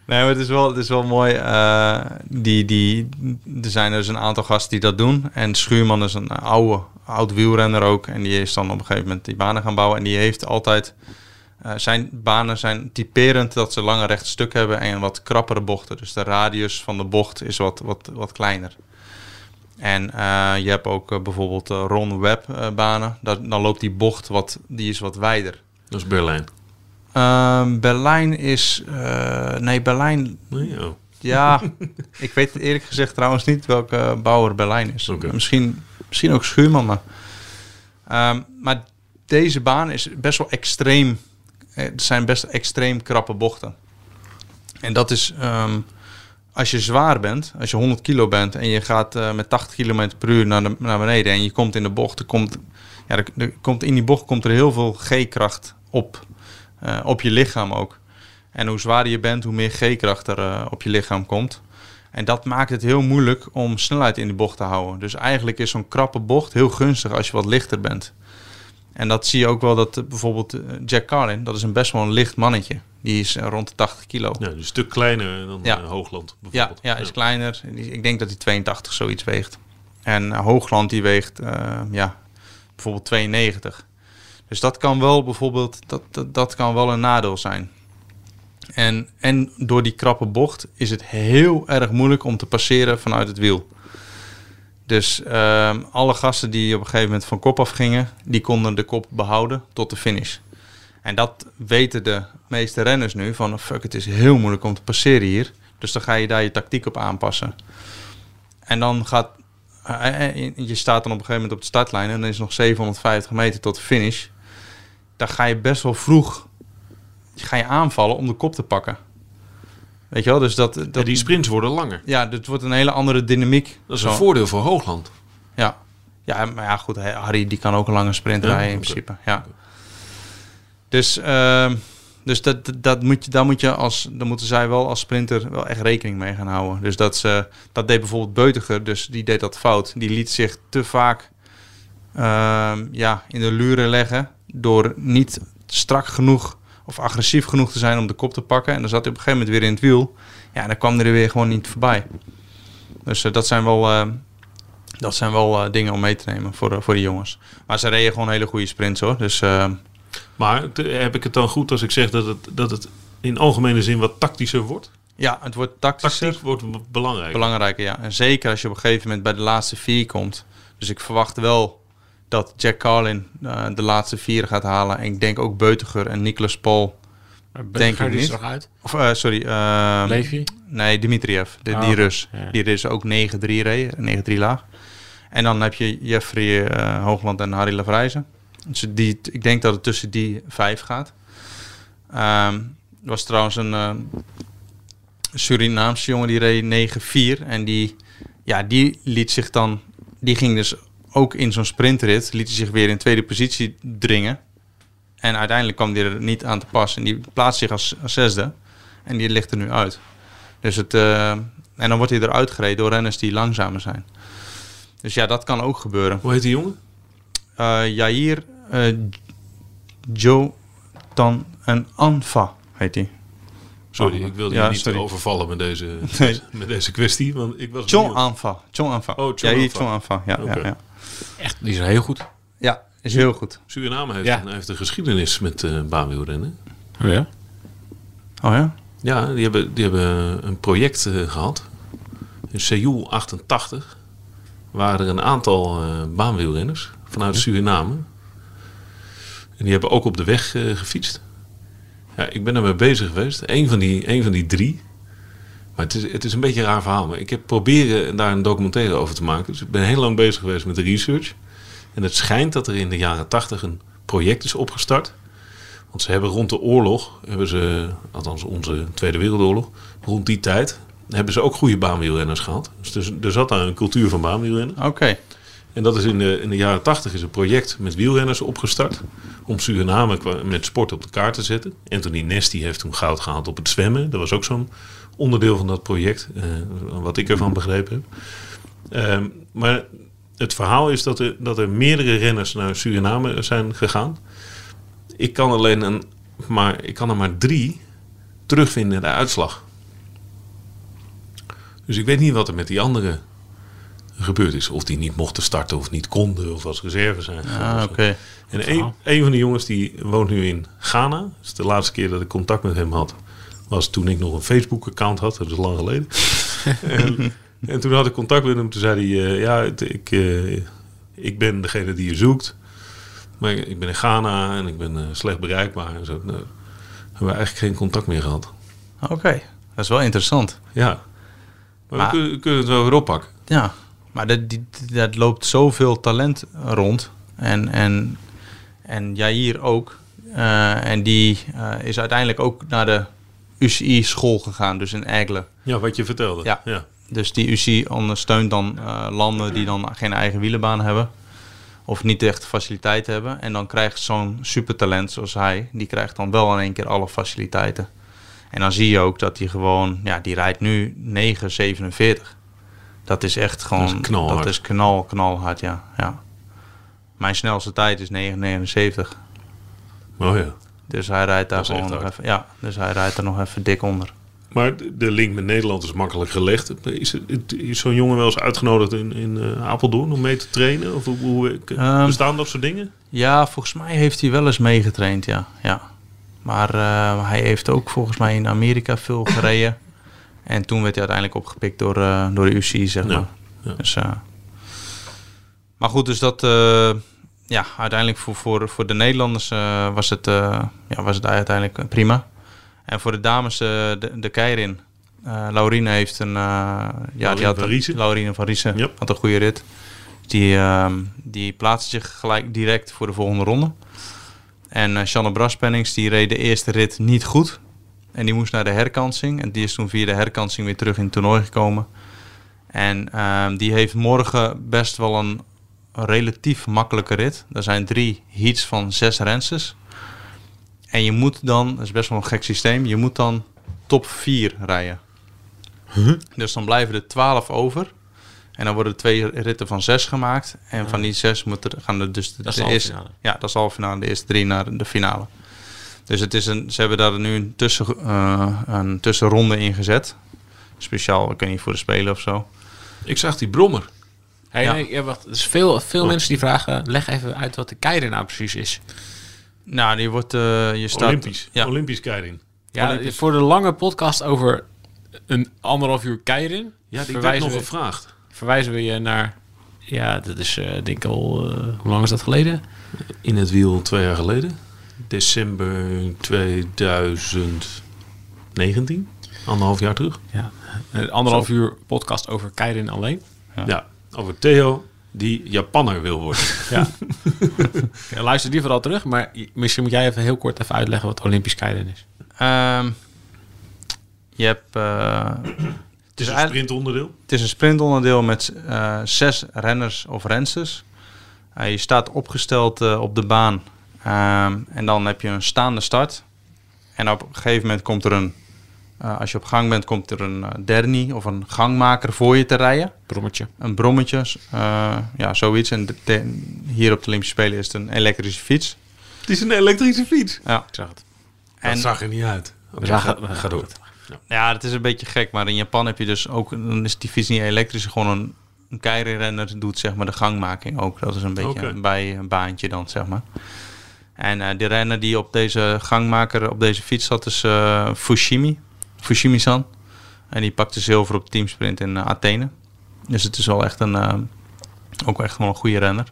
S3: Nee, maar het is wel, het is wel mooi. eh, die, die, er zijn dus een aantal gasten die dat doen. En Schuurman is een oude, oud wielrenner ook. En die is dan op een gegeven moment die banen gaan bouwen. En die heeft altijd... eh, zijn banen zijn typerend dat ze lange rechte stuk hebben en wat krappere bochten. Dus de radius van de bocht is wat, wat, wat kleiner. En eh, je hebt ook eh, bijvoorbeeld eh, Ron Webb eh, banen. Dat, dan loopt die bocht wat, die is wat wijder.
S1: Dat is Berlijn.
S3: Ehm, Berlijn is... eh, nee, Berlijn
S4: Nou
S1: Nee, oh.
S3: ja, ik weet eerlijk gezegd trouwens niet welke eh, bouwer Berlijn is.
S1: Oké.
S3: Misschien, misschien ook Schuurman, maar... Ehm, maar deze baan is best wel extreem. eh, Het zijn best extreem krappe bochten. En dat is ehm, als je zwaar bent, als je 100 kilo bent en je gaat eh, met 80 km per uur naar, de, naar beneden en je komt in de bocht, er komt, ja, er, er komt in die bocht komt er heel veel G-kracht op. eh, op je lichaam ook. En hoe zwaarder je bent, hoe meer G-kracht er eh, op je lichaam komt. En dat maakt het heel moeilijk om snelheid in die bocht te houden. Dus eigenlijk is zo'n krappe bocht heel gunstig als je wat lichter bent. En dat zie je ook wel dat eh, bijvoorbeeld eh, Jack Carlin, dat is een best wel een licht mannetje. Die is eh, rond de 80 kilo.
S4: Ja, dus een stuk kleiner dan
S3: Ja.
S4: eh, Hoogland
S3: Ja,
S4: bijvoorbeeld.
S3: ja, is kleiner. Die- Ik denk dat hij 82 zoiets weegt. En eh, Hoogland die weegt eh, ja, bijvoorbeeld 92. Dus dat kan wel bijvoorbeeld dat, dat, dat kan wel een nadeel zijn. En, en door die krappe bocht is het heel erg moeilijk om te passeren vanuit het wiel. Dus ehm, alle gasten die op een gegeven moment van kop af gingen, die konden de kop behouden tot de finish. En dat weten de meeste renners nu van fuck, het is heel moeilijk om te passeren hier. Dus dan ga je daar je tactiek op aanpassen. En dan gaat eh, eh, je staat dan op een gegeven moment op de startlijn en dan is nog 750 meter tot de finish. Dan ga je best wel vroeg ga je aanvallen om de kop te pakken. Weet je wel? Dus dat, dat
S4: Ja, die sprints worden langer.
S3: ja, dit wordt een hele andere dynamiek.
S4: Dat is een
S3: Zo.
S4: voordeel voor Hoogland.
S3: Ja. ja, maar ja, goed. hè, Harry die kan ook een lange sprint
S4: Ja,
S3: rijden in
S4: oké.
S3: principe. Ja. Dus, ehm, dus dat, dat- dat moet je, daar moet je als, daar moeten zij wel als sprinter wel echt rekening mee gaan houden. Dus dat, ze, dat deed bijvoorbeeld Beutiger, dus die deed dat fout. Die liet zich te vaak ehm, ja, in de luren leggen door niet strak genoeg of agressief genoeg te zijn om de kop te pakken. En dan zat hij op een gegeven moment weer in het wiel. Ja, en dan kwam hij er weer gewoon niet voorbij. Dus eh, dat zijn wel, ehm, dat zijn wel eh, dingen om mee te nemen voor, eh, voor de jongens. Maar ze reden gewoon hele goede sprints hoor. Dus ehm,
S4: Maar te- heb ik het dan goed als ik zeg dat het, dat het in algemene zin wat tactischer wordt?
S3: ja, het wordt tactischer.
S4: Tactiek wordt b- belangrijk.
S3: Belangrijker, ja. En zeker als je op een gegeven moment bij de laatste vier komt. Dus ik verwacht wel dat Jack Carlin eh, de laatste vier gaat halen. En ik denk ook Beutiger en Nicolas Paul. Denk ik
S2: die
S3: niet.
S2: is er nog uit.
S3: Of eh, sorry, ehm,
S2: Levi?
S3: nee, Dimitriev. De,
S2: Ah,
S3: die Rus.
S2: ja.
S3: Die Rus ook 9-3 reed, 9-3 laag. En dan heb je Jeffrey eh, Hoogland en Harry Lavrijzen. Dus die, ik denk dat het tussen die vijf gaat. Ehm, er was trouwens een eh, Surinaamse jongen die reed 9-4. En die, ja, die liet zich dan... Die ging dus ook in zo'n sprintrit... liet hij zich weer in tweede positie dringen. En uiteindelijk kwam die er niet aan te pas. En die plaatst zich als, als zesde. En die ligt er nu uit. Dus het, eh, en dan wordt hij eruit gereden door renners die langzamer zijn. Dus ja, dat kan ook gebeuren
S4: Hoe heet die jongen?
S3: eh Jair eh Jotan en Anfa heet hij.
S4: Sorry,
S3: Oh,
S4: ik wilde
S3: ja,
S4: je niet
S3: sorry.
S4: overvallen met deze,
S3: Nee.
S4: met deze kwestie. Want ik was
S3: John
S4: benieuwd.
S3: Anfa. John Anfa.
S4: Oh, John
S3: Jair
S4: Anfa.
S3: John Anfa. Ja,
S4: Oké.
S3: ja, ja.
S2: Echt, die is heel goed.
S3: ja, is heel goed.
S4: Suriname heeft,
S2: Ja.
S4: een, heeft een geschiedenis met eh baanwielrennen.
S2: Oh ja?
S3: Oh ja?
S4: Ja, die hebben, die hebben een project eh, gehad. In Seoul 88 waren er een aantal eh, baanwielrenners vanuit Suriname. En die hebben ook op de weg eh, gefietst. Ja, ik ben ermee bezig geweest. Eén van die, één van die drie. Maar het is, het is een beetje een raar verhaal. Maar ik heb proberen daar een documentaire over te maken. Dus ik ben heel lang bezig geweest met de research. En het schijnt dat er in de jaren 80 een project is opgestart. Want ze hebben rond de oorlog, hebben ze, althans onze Tweede Wereldoorlog, rond die tijd hebben ze ook goede baanwielrenners gehad. Dus er- er zat daar een cultuur van baanwielrennen.
S3: Oké.
S4: En dat is in de, in de jaren 80 is een project met wielrenners opgestart. Om Suriname qua- met sport op de kaart te zetten. Anthony Nesty heeft toen goud gehaald op het zwemmen. Dat was ook zo'n onderdeel van dat project. eh, wat ik ervan begrepen heb. Ehm, maar het verhaal is dat er, dat er meerdere renners naar Suriname zijn gegaan. Ik kan, alleen een, maar, ik kan er maar drie terugvinden in de uitslag. Dus ik weet niet wat er met die anderen gebeurd is. Of die niet mochten starten of niet konden of als reserve zijn. gegaan of
S3: Ah,
S4: zo.
S3: oké.
S4: En een, een van de jongens die woont nu in Ghana. Dus de laatste keer dat ik contact met hem had, was toen ik nog een Facebook-account had. Dat is lang geleden. en, en toen had ik contact met hem. Toen zei hij, eh, ja, het- ik, eh, ik ben degene die je zoekt. Maar ik, ik ben in Ghana en ik ben eh, slecht bereikbaar. En zo. Nou, hebben we eigenlijk geen contact meer gehad.
S3: Oké. Dat is wel interessant.
S4: Ja. Maar,
S3: Maar-
S4: we kunnen, we kunnen het wel weer oppakken.
S3: Ja. Maar dat, die, dat loopt zoveel talent rond. En, en, En Jair ook. Eh, en die eh, is uiteindelijk ook naar de UCI-school gegaan, dus in Egle.
S1: Ja, wat je vertelde.
S3: Ja.
S1: ja.
S3: Dus die UCI ondersteunt dan eh, landen die dan geen eigen wielenbaan hebben. Of niet echt faciliteit hebben. En dan krijgt zo'n supertalent zoals hij, die krijgt dan wel in één keer alle faciliteiten. En dan zie je ook dat hij gewoon, ja, die rijdt nu 9,47. Dat is echt gewoon,
S1: Dat is knalhard.
S3: Dat is knal, knalhard, ja. ja. Mijn snelste tijd is 9,79.
S1: Oh ja.
S3: Dus hij rijdt daar
S1: Dat is echt
S3: gewoon nog
S1: hard.
S3: even, ja, dus hij rijdt er nog even dik onder.
S1: Maar de- de link met Nederland is makkelijk gelegd. Is, het- is zo'n jongen wel eens uitgenodigd in, in eh, Apeldoorn om mee te trainen? Of hoe, hoe eh,
S3: Ehm.
S1: bestaan dat soort dingen?
S3: Ja, volgens mij heeft hij wel eens meegetraind, ja. ja. Maar eh, hij heeft ook volgens mij in Amerika veel gereden. En toen werd hij uiteindelijk opgepikt door, eh, door de UCI, zeg maar.
S1: Ja, ja.
S3: Dus, eh, maar goed, dus dat... eh, ja, uiteindelijk voor, voor, voor de Nederlanders eh, was, het, eh, ja, was het uiteindelijk eh, prima. En voor de dames eh, de, de keirin. Eh, Laurine heeft een... eh, ja,
S1: Laurine
S3: die had
S1: van
S3: een-
S1: Riesen.
S3: Laurine van Riesen
S1: Ja.
S3: had een goede rit. Die, ehm, die plaatste zich gelijk direct voor de volgende ronde. En eh Shannon Braspennings die reed de eerste rit niet goed. En die moest naar de herkansing. En die is toen via de herkansing weer terug in het toernooi gekomen. En ehm, die heeft morgen best wel een relatief makkelijke rit. Er zijn drie heats van zes renses. En je moet dan, dat is best wel een gek systeem, je moet dan top 4 rijden. Dus dan blijven er 12 over. En dan worden er twee ritten van zes gemaakt. En van die zes moet er, gaan er dus de,
S2: Ah. Dat is
S3: de
S2: de
S3: eerste.
S2: halve
S3: Ja, dat is de halve finale. De eerste drie naar de finale. Dus het is een, ze hebben daar nu een, tussen, eh, een tussenronde in gezet. Speciaal, ik weet niet, voor de Spelen of zo.
S1: Ik zag die brommer.
S2: Hey,
S3: Ja.
S2: nee, ja, wacht. Dus veel veel mensen die vragen, leg even uit wat de keirin nou precies is.
S3: Nou, die wordt... eh, je staat,
S1: Olympisch.
S3: Ja,
S1: Olympisch keirin.
S2: Ja,
S3: Olympisch.
S2: voor de lange podcast over een anderhalf uur keirin
S1: Ja, die werd
S2: verwijzen
S1: nog
S2: we-
S1: gevraagd.
S2: verwijzen we je naar... Ja, dat is eh, denk ik al... eh, hoe lang is dat geleden?
S1: In het wiel twee jaar geleden. December 2019. Anderhalf jaar terug.
S2: Ja. Een anderhalf uur podcast over keirin alleen.
S1: Ja. Over Theo, die Japanner wil worden.
S2: Ja. Ja, Luister die vooral terug, maar i- misschien moet jij even heel kort even uitleggen wat Olympisch keirin is.
S3: ehm, je hebt... eh,
S1: Het is een
S3: eigenlijk-
S1: sprintonderdeel.
S3: Het is een sprintonderdeel met eh, zes renners of rensters. Eh, je staat opgesteld eh, op de baan Ehm, en dan heb je een staande start. En op een gegeven moment komt er een, eh, als je op gang bent, komt er een eh, dernie of een gangmaker voor je te rijden.
S2: Brommetje.
S3: Een brommetje, s- eh, ja, zoiets. En de- de- hier op de Olympische Spelen is het een elektrische fiets.
S1: Het is een elektrische fiets.
S3: Ja.
S2: Ik zag het.
S3: En-
S1: Dat zag er niet uit. Oké,
S2: zagen-
S1: ga, ga door.
S3: Ja, dat is een beetje gek. Maar in Japan heb je dus ook... Dan is die fiets niet elektrisch. Gewoon een, een keirinrenner doet zeg maar de gangmaking ook. Dat is een beetje
S1: Oké.
S3: een bijbaantje dan, zeg maar. En eh de renner die op deze gangmaker, op deze fiets zat, is eh, Fushimi. Fushimi-san. En die pakte zilver op de teamsprint in eh, Athene. Dus het is wel echt een... eh, ook echt wel een goede renner.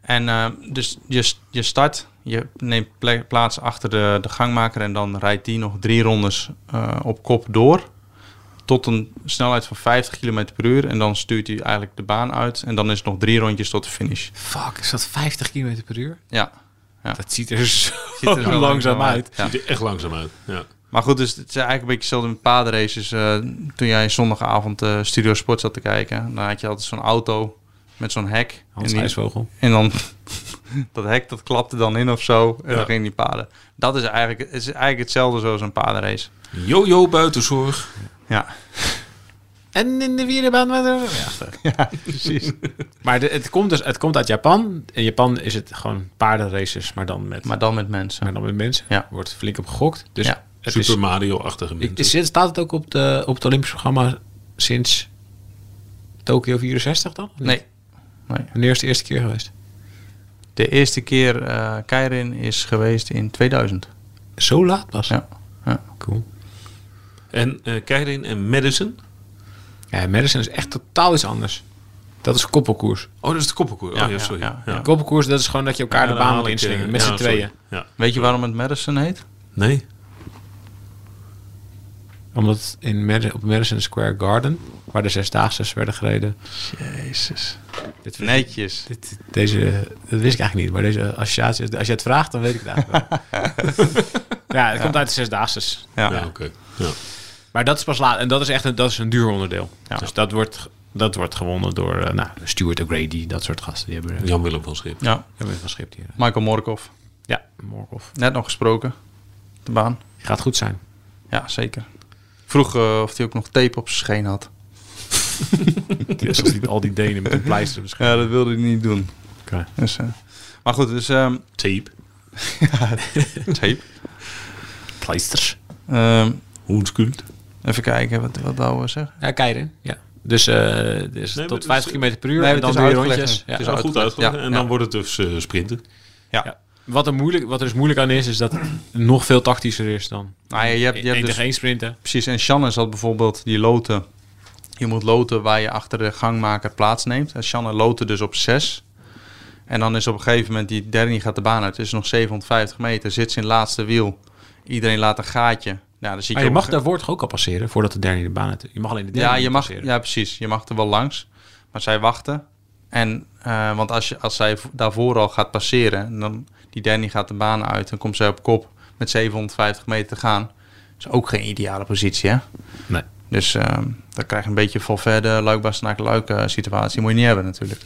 S3: En eh, dus je, je start, je neemt ple- plaats achter de, de gangmaker en dan rijdt die nog drie rondes eh, op kop door. Tot een snelheid van 50 km per uur. En dan stuurt hij eigenlijk de baan uit. En dan is het nog drie rondjes tot de finish.
S2: Fuck, is dat 50 km per uur?
S3: Ja,
S2: Dat ziet er zo
S3: ziet er zo
S2: langzaam uit.
S3: Ja.
S1: Ziet er echt langzaam uit. Ja.
S3: Maar goed, dus het is eigenlijk een beetje hetzelfde met paardenraces. Eh, toen jij zondagavond eh, Studio Sport zat te kijken, dan had je altijd zo'n auto met zo'n hek.
S2: Hans
S3: En die-
S2: IJsvogel.
S3: En dan dat hek dat klapte dan in of zo. En
S1: Ja.
S3: dan ging die paden. Dat is eigenlijk, het is eigenlijk hetzelfde zoals een padenrace.
S1: Jojo buitenzorg.
S3: Ja,
S2: En in de wielenbaan met er... Ja.
S3: precies.
S2: Maar de- het, komt dus, het komt uit Japan. In Japan is het gewoon paardenraces, maar dan met,
S3: maar dan met mensen.
S2: maar dan met mensen.
S3: Ja.
S2: Wordt flink op gegokt. Dus
S3: Ja.
S2: het
S1: Super
S2: is,
S1: Mario-achtige
S2: ik-
S1: mensen.
S2: is, staat het ook op, de, op het Olympisch programma sinds Tokio 64 dan? Of niet?
S3: Nee,
S2: Wanneer is de eerste keer geweest?
S3: de eerste keer eh Keirin is geweest in 2000.
S2: Zo laat pas.
S3: Ja. Ja.
S2: Cool.
S1: En eh Keirin en Madison.
S2: Ja, Madison is echt totaal iets anders. Dat is koppelkoers.
S1: Oh, dat is de koppelkoer.
S3: Ja,
S1: oh ja,
S3: ja,
S1: sorry.
S3: ja,
S1: Ja.
S2: Koppelkoers, dat is gewoon dat je elkaar
S1: Ja,
S2: de
S1: dan
S2: baan
S1: haal
S2: moet
S1: ik,
S2: inslingen.
S1: eh,
S2: met
S1: ja,
S2: z'n
S1: sorry.
S2: tweeën.
S1: Ja.
S3: Weet je waarom het Madison heet?
S1: Nee.
S2: Omdat in Mad- op Madison Square Garden, waar de zesdaagses werden gereden.
S3: Jezus.
S2: Dit vind ik-
S3: Netjes.
S2: dit, deze, dat wist ik eigenlijk niet, maar deze associatie, als je het vraagt, dan weet ik het eigenlijk wel. ja, het komt uit de zesdaagses.
S3: Ja.
S1: Ja, oké. Ja.
S2: Maar dat is pas laat. En dat is echt een, dat is een duur onderdeel.
S3: Ja.
S2: Dus dat wordt, dat wordt gewonnen door eh, nou, Stuart O'Grady, dat soort gasten. Die hebben eh,
S1: Jan-Willem van Schip.
S3: ja.
S2: hebben van schip hier.
S3: Michael Morkov.
S2: Ja, Morkov.
S3: Net nog gesproken. De baan.
S2: Gaat goed zijn.
S3: Ja, zeker. Vroeg eh, of hij ook nog tape op zijn scheen had.
S2: Dus als die, al die Denen met een pleister misschien.
S3: Ja, dat wilde hij niet doen.
S2: Oké.
S3: Dus, eh, maar goed, dus ehm,
S1: Tape.
S3: tape.
S2: Pleisters.
S3: Ehm,
S1: Hoenskult.
S3: even kijken, wat, wat wou we zeggen?
S2: Ja, Keirin. Ja. Dus, eh, dus
S1: maar
S2: tot
S1: dus-
S2: 50 km per uur.
S3: Nee,
S2: en
S3: het
S2: dan
S3: is
S2: doe je
S3: uitgelegd
S2: rondjes.
S3: nu. Het is
S2: Ja.
S3: al- Uitgelegd,
S1: Goed uitgelegd.
S3: ja,
S1: En
S3: ja.
S1: dan wordt het dus eh, sprinten.
S2: Wat, er moeilijk, wat er dus moeilijk aan is, is dat het nog veel tactischer is dan
S3: Nou, ja, je hebt, je
S2: Eén
S3: hebt
S2: tegen
S3: dus,
S2: één sprinten.
S3: precies, en Shannon zat bijvoorbeeld die loten. Je moet loten waar je achter de gangmaker plaatsneemt. En Shannon loten dus op 6. En dan is op een gegeven moment die Derny gaat de baan uit. Het is nog 750 meter. Zit ze in het laatste wiel. Iedereen laat een gaatje. Nou, dan zie
S2: Maar je
S3: op-
S2: mag daarvoor toch ook al passeren, voordat de derde de baan uit... Je mag alleen de derde
S3: Ja, je
S2: niet
S3: mag,
S2: passeren.
S3: ja, precies. Je mag er wel langs. Maar zij wachten. En, eh, want als, je, als zij v- daarvoor al gaat passeren, en dan, die Danny gaat de baan uit, dan komt zij op kop met 750 meter te gaan. is ook geen ideale positie, hè?
S2: Nee.
S3: Dus ehm dan krijg je een beetje van verder luikbaas naar luik eh, situatie. Moet je niet hebben natuurlijk.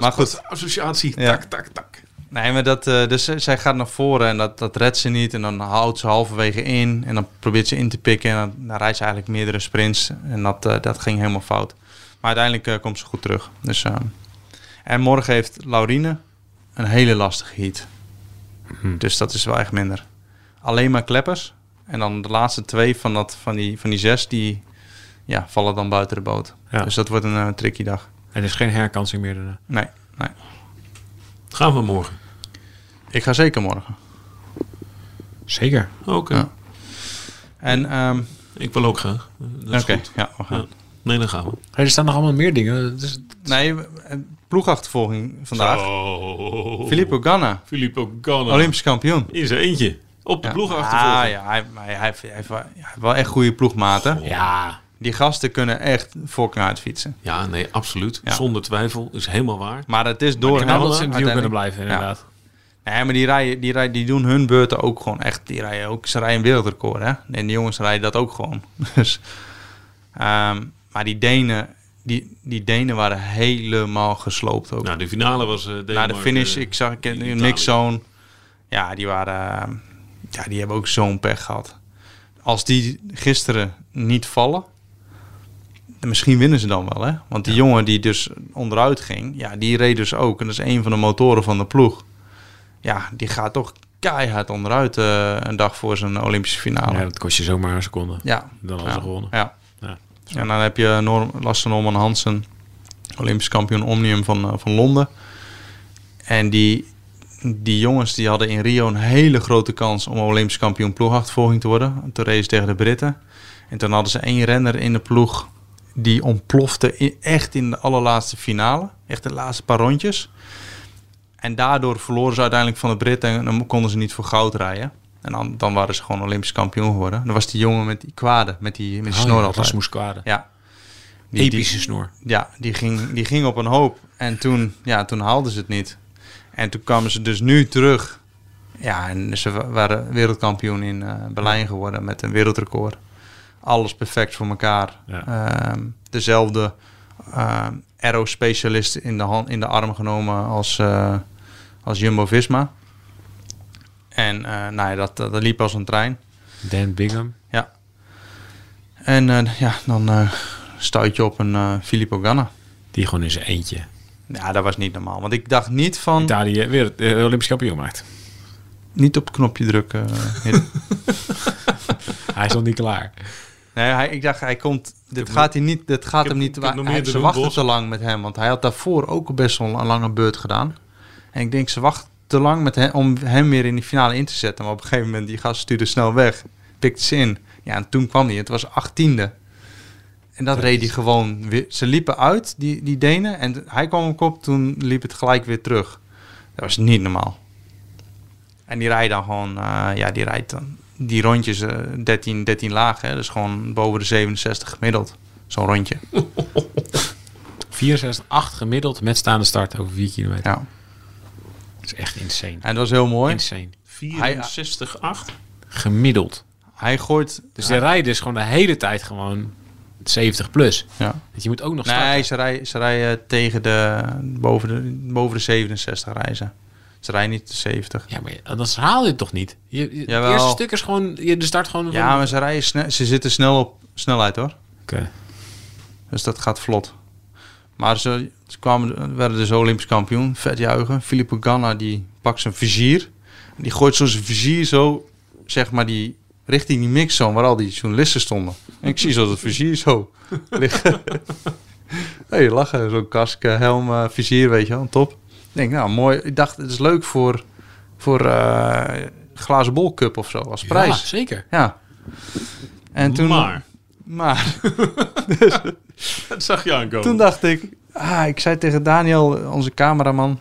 S3: Maar goed.
S1: associatie.
S3: Ja.
S1: Tak, tak, tak.
S3: Nee, maar dat, eh, dus zij- zij gaat naar voren en dat, dat redt ze niet. En dan houdt ze halverwege in en dan probeert ze in te pikken. En dan, dan rijdt ze eigenlijk meerdere sprints. En dat, eh, dat ging helemaal fout. Maar uiteindelijk eh, komt ze goed terug. Dus, ehm, en morgen heeft Laurine een hele lastige heat.
S1: Mhm.
S3: Dus dat is wel echt minder. Alleen maar kleppers. En dan de laatste twee van, dat, van, die, van die zes, die ja, vallen dan buiten de boot.
S2: Ja.
S3: Dus dat wordt een eh, tricky dag.
S2: En er is geen herkansing meer daarna.
S3: Nee, nee.
S1: Gaan we morgen.
S3: Ik ga zeker morgen.
S2: Zeker.
S1: Oké.
S3: Ja. En ehm,
S1: Ik wil ook graag. Eh, Dat is
S3: Oké,
S1: goed.
S3: ja, we gaan.
S1: Ja. Nee, dan gaan we.
S2: Er staan nog allemaal meer dingen. Dus,
S3: Nee, we- eh, ploegachtervolging vandaag.
S2: Oh,
S1: Zo.
S3: Filippo Ganna,
S1: Filippo Ganna.
S3: Olympisch kampioen.
S1: In zijn eentje. Op de
S3: Ja.
S1: ploeg
S3: Ah, ja, hij, maar hij, heeft- hij heeft wel- hij heeft wel echt goede ploegmaten.
S2: ja.
S3: Die gasten kunnen echt voorknaard fietsen.
S1: Ja, nee, absoluut.
S3: Ja.
S1: Zonder twijfel. Is helemaal waar.
S3: Maar dat is door
S2: Ik had dat ze in het wiel
S3: uiteindelijk.
S2: kunnen blijven, inderdaad.
S3: Nee, maar die, rijden, die, rijden, die doen hun beurten ook gewoon echt. Die rijden ook, ze rijden een wereldrecord, hè? En de jongens rijden dat ook gewoon. Dus, ehm, maar die Denen, die, die Denen waren helemaal gesloopt ook.
S1: Nou, de finale was eh
S3: Na de
S1: Denemarken,
S3: finish,
S1: eh,
S3: ik zag ik in
S1: Italië.
S3: een mixzone. Ja, die waren. eh, Ja, die hebben ook zo'n pech gehad. Als die gisteren niet vallen, dan misschien winnen ze dan wel, hè? Want die jongen die dus onderuit ging, ja, die reed dus ook. En dat is een van de motoren van de ploeg. Ja, die gaat toch keihard onderuit eh, een dag voor zijn Olympische finale.
S2: Ja,
S3: Ja.
S2: dat kost je zomaar een seconde.
S3: ja.
S2: Dan hadden ze gewonnen.
S3: Ja.
S2: Ja.
S3: En dan heb je Norm, Lasse Norman Hansen, Olympisch kampioen Omnium van, eh, van Londen. En die, die jongens die hadden in Rio een hele grote kans om Olympisch kampioen ploegachtervolging te worden. Te race tegen de Britten. En toen hadden ze één renner in de ploeg die ontplofte i- echt in de allerlaatste finale. Echt de laatste paar rondjes. En daardoor verloren ze uiteindelijk van de Britten en dan konden ze niet voor goud rijden. En dan, dan waren ze gewoon Olympisch kampioen geworden. Dan was die jongen met die kwade, met die, met die snor altijd.
S2: Rasmus Kwade.
S3: Ja. Die, die-
S2: Epische snor.
S3: ja, die ging, die ging op een hoop. En toen, ja, toen haalden ze het niet. En toen kwamen ze dus nu terug. Ja, en ze wa- waren wereldkampioen in eh, Berlijn geworden met een wereldrecord. Alles perfect voor elkaar.
S2: Ja.
S3: Ehm, dezelfde ehm aerospecialist in de, hand, in de arm genomen als, eh, als Jumbo-Visma. En eh, nou ja, dat, dat liep als een trein.
S2: Dan Bingham.
S3: Ja. En eh, ja, dan eh stuit je op een eh, Filippo Ganna.
S2: Die gewoon in zijn eentje.
S3: Ja, dat was niet normaal. Want ik dacht niet van...
S2: Italië weer het eh, Olympisch kampioen maakt.
S3: Niet op het knopje drukken. eh, Hidde.
S2: Hij is nog niet klaar.
S3: nee, hij, ik dacht, hij komt... Dit gaat, hij niet, dit gaat
S1: ik
S3: hem
S1: heb-
S3: niet...
S1: ik heb nog
S3: hij-
S1: meer te
S3: ze
S1: doen,
S3: wachten
S1: Bos.
S3: te lang met hem. Want hij had daarvoor ook best wel een lange beurt gedaan. En ik denk, ze wachten te lang met hem, om hem weer in die finale in te zetten. Maar op een gegeven moment, die gast stuurde snel weg. Pikte ze in. Ja, en toen kwam hij. Het was achttiende. En dat reed hij gewoon weer. Ze liepen uit, die, die Denen. En hij kwam op kop, toen liep het gelijk weer terug. Dat was niet normaal. En die rijdt dan gewoon, eh, ja, die rijdt dan die rondjes, eh, 13, 13 laag, hè, dus gewoon boven de 67 gemiddeld. Zo'n rondje.
S2: 64, 8 gemiddeld met staande start over 4 kilometer.
S3: Ja.
S2: Dat is echt insane.
S3: En dat was heel mooi.
S2: Insane.
S1: 64, 8.
S2: Gemiddeld.
S3: Hij gooit.
S2: Dus
S3: hij-
S2: de rijden is gewoon de hele tijd gewoon 70 plus.
S3: ja.
S2: Want je moet ook nog
S3: Nee,
S2: starten.
S3: ze rijden, ze rijden tegen de boven, de. boven de 67 reizen. Ze rijden niet de 70.
S2: Ja, maar je- dan haal je het toch niet? Je, je- het
S3: Jawel.
S2: eerste stuk is gewoon... Je, de start gewoon...
S3: Ja, maar ze, rijden sne- ze zitten snel op snelheid hoor.
S2: Oké.
S3: Dus dat gaat vlot. Maar ze, ze kwamen, werden dus Olympisch kampioen. Vet juichen. Filippo Ganna die pakt zijn vizier. En die gooit zo zijn vizier zo, zeg maar, die, richting die mixzone waar al die journalisten stonden. En ik zie zo dat vizier zo liggen. Hé, hey, lachen. Zo'n kask, eh, helm, eh, vizier, weet je wel. Top. Ik denk, nou mooi. Ik dacht, het is leuk voor, voor eh, glazen bol cup of zo als
S2: Ja,
S3: prijs.
S2: zeker.
S3: Ja. En toen...
S1: Maar,
S3: Maar...
S1: dat zag je aankomen.
S3: Dus, Toen dacht ik, ah, ik zei tegen Daniel, onze cameraman,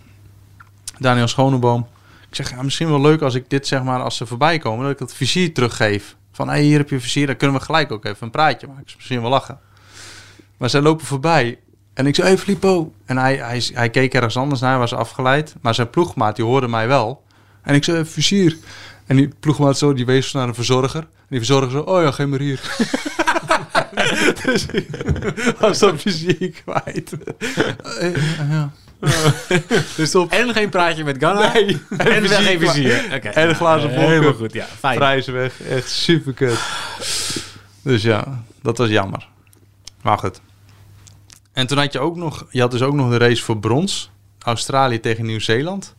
S3: Daniel Schoneboom. Ik zeg, ja, misschien wel leuk als ik dit zeg maar, als ze voorbij komen, dat ik dat vizier teruggeef. Van, hé, hier heb je vizier, dan kunnen we gelijk ook even een praatje maken. Dus misschien wel lachen. Maar zij lopen voorbij en ik zei, hé, hey, Filippo. En hij, hij, hij keek ergens anders naar, hij was afgeleid. Maar zijn ploegmaat, die hoorde mij wel. En ik zei, hey, vizier. En die ploegmaat zo, die wees naar een verzorger. En die verzorger zo, oh ja, geef maar hier. dus ik was dat vizier kwijt. Eh, eh, ja.
S2: Dus op en geen praatje met Ganna. En
S3: vizier.
S2: wel geen vizier. Oké. Eh,
S3: En een glazen bol.
S2: Helemaal goed, ja. Fijn.
S3: Prijzen weg. Echt super kut. Dus ja, dat was jammer. Maar goed. En toen had je ook nog, je had dus ook nog de race voor brons. Australië tegen Nieuw-Zeeland.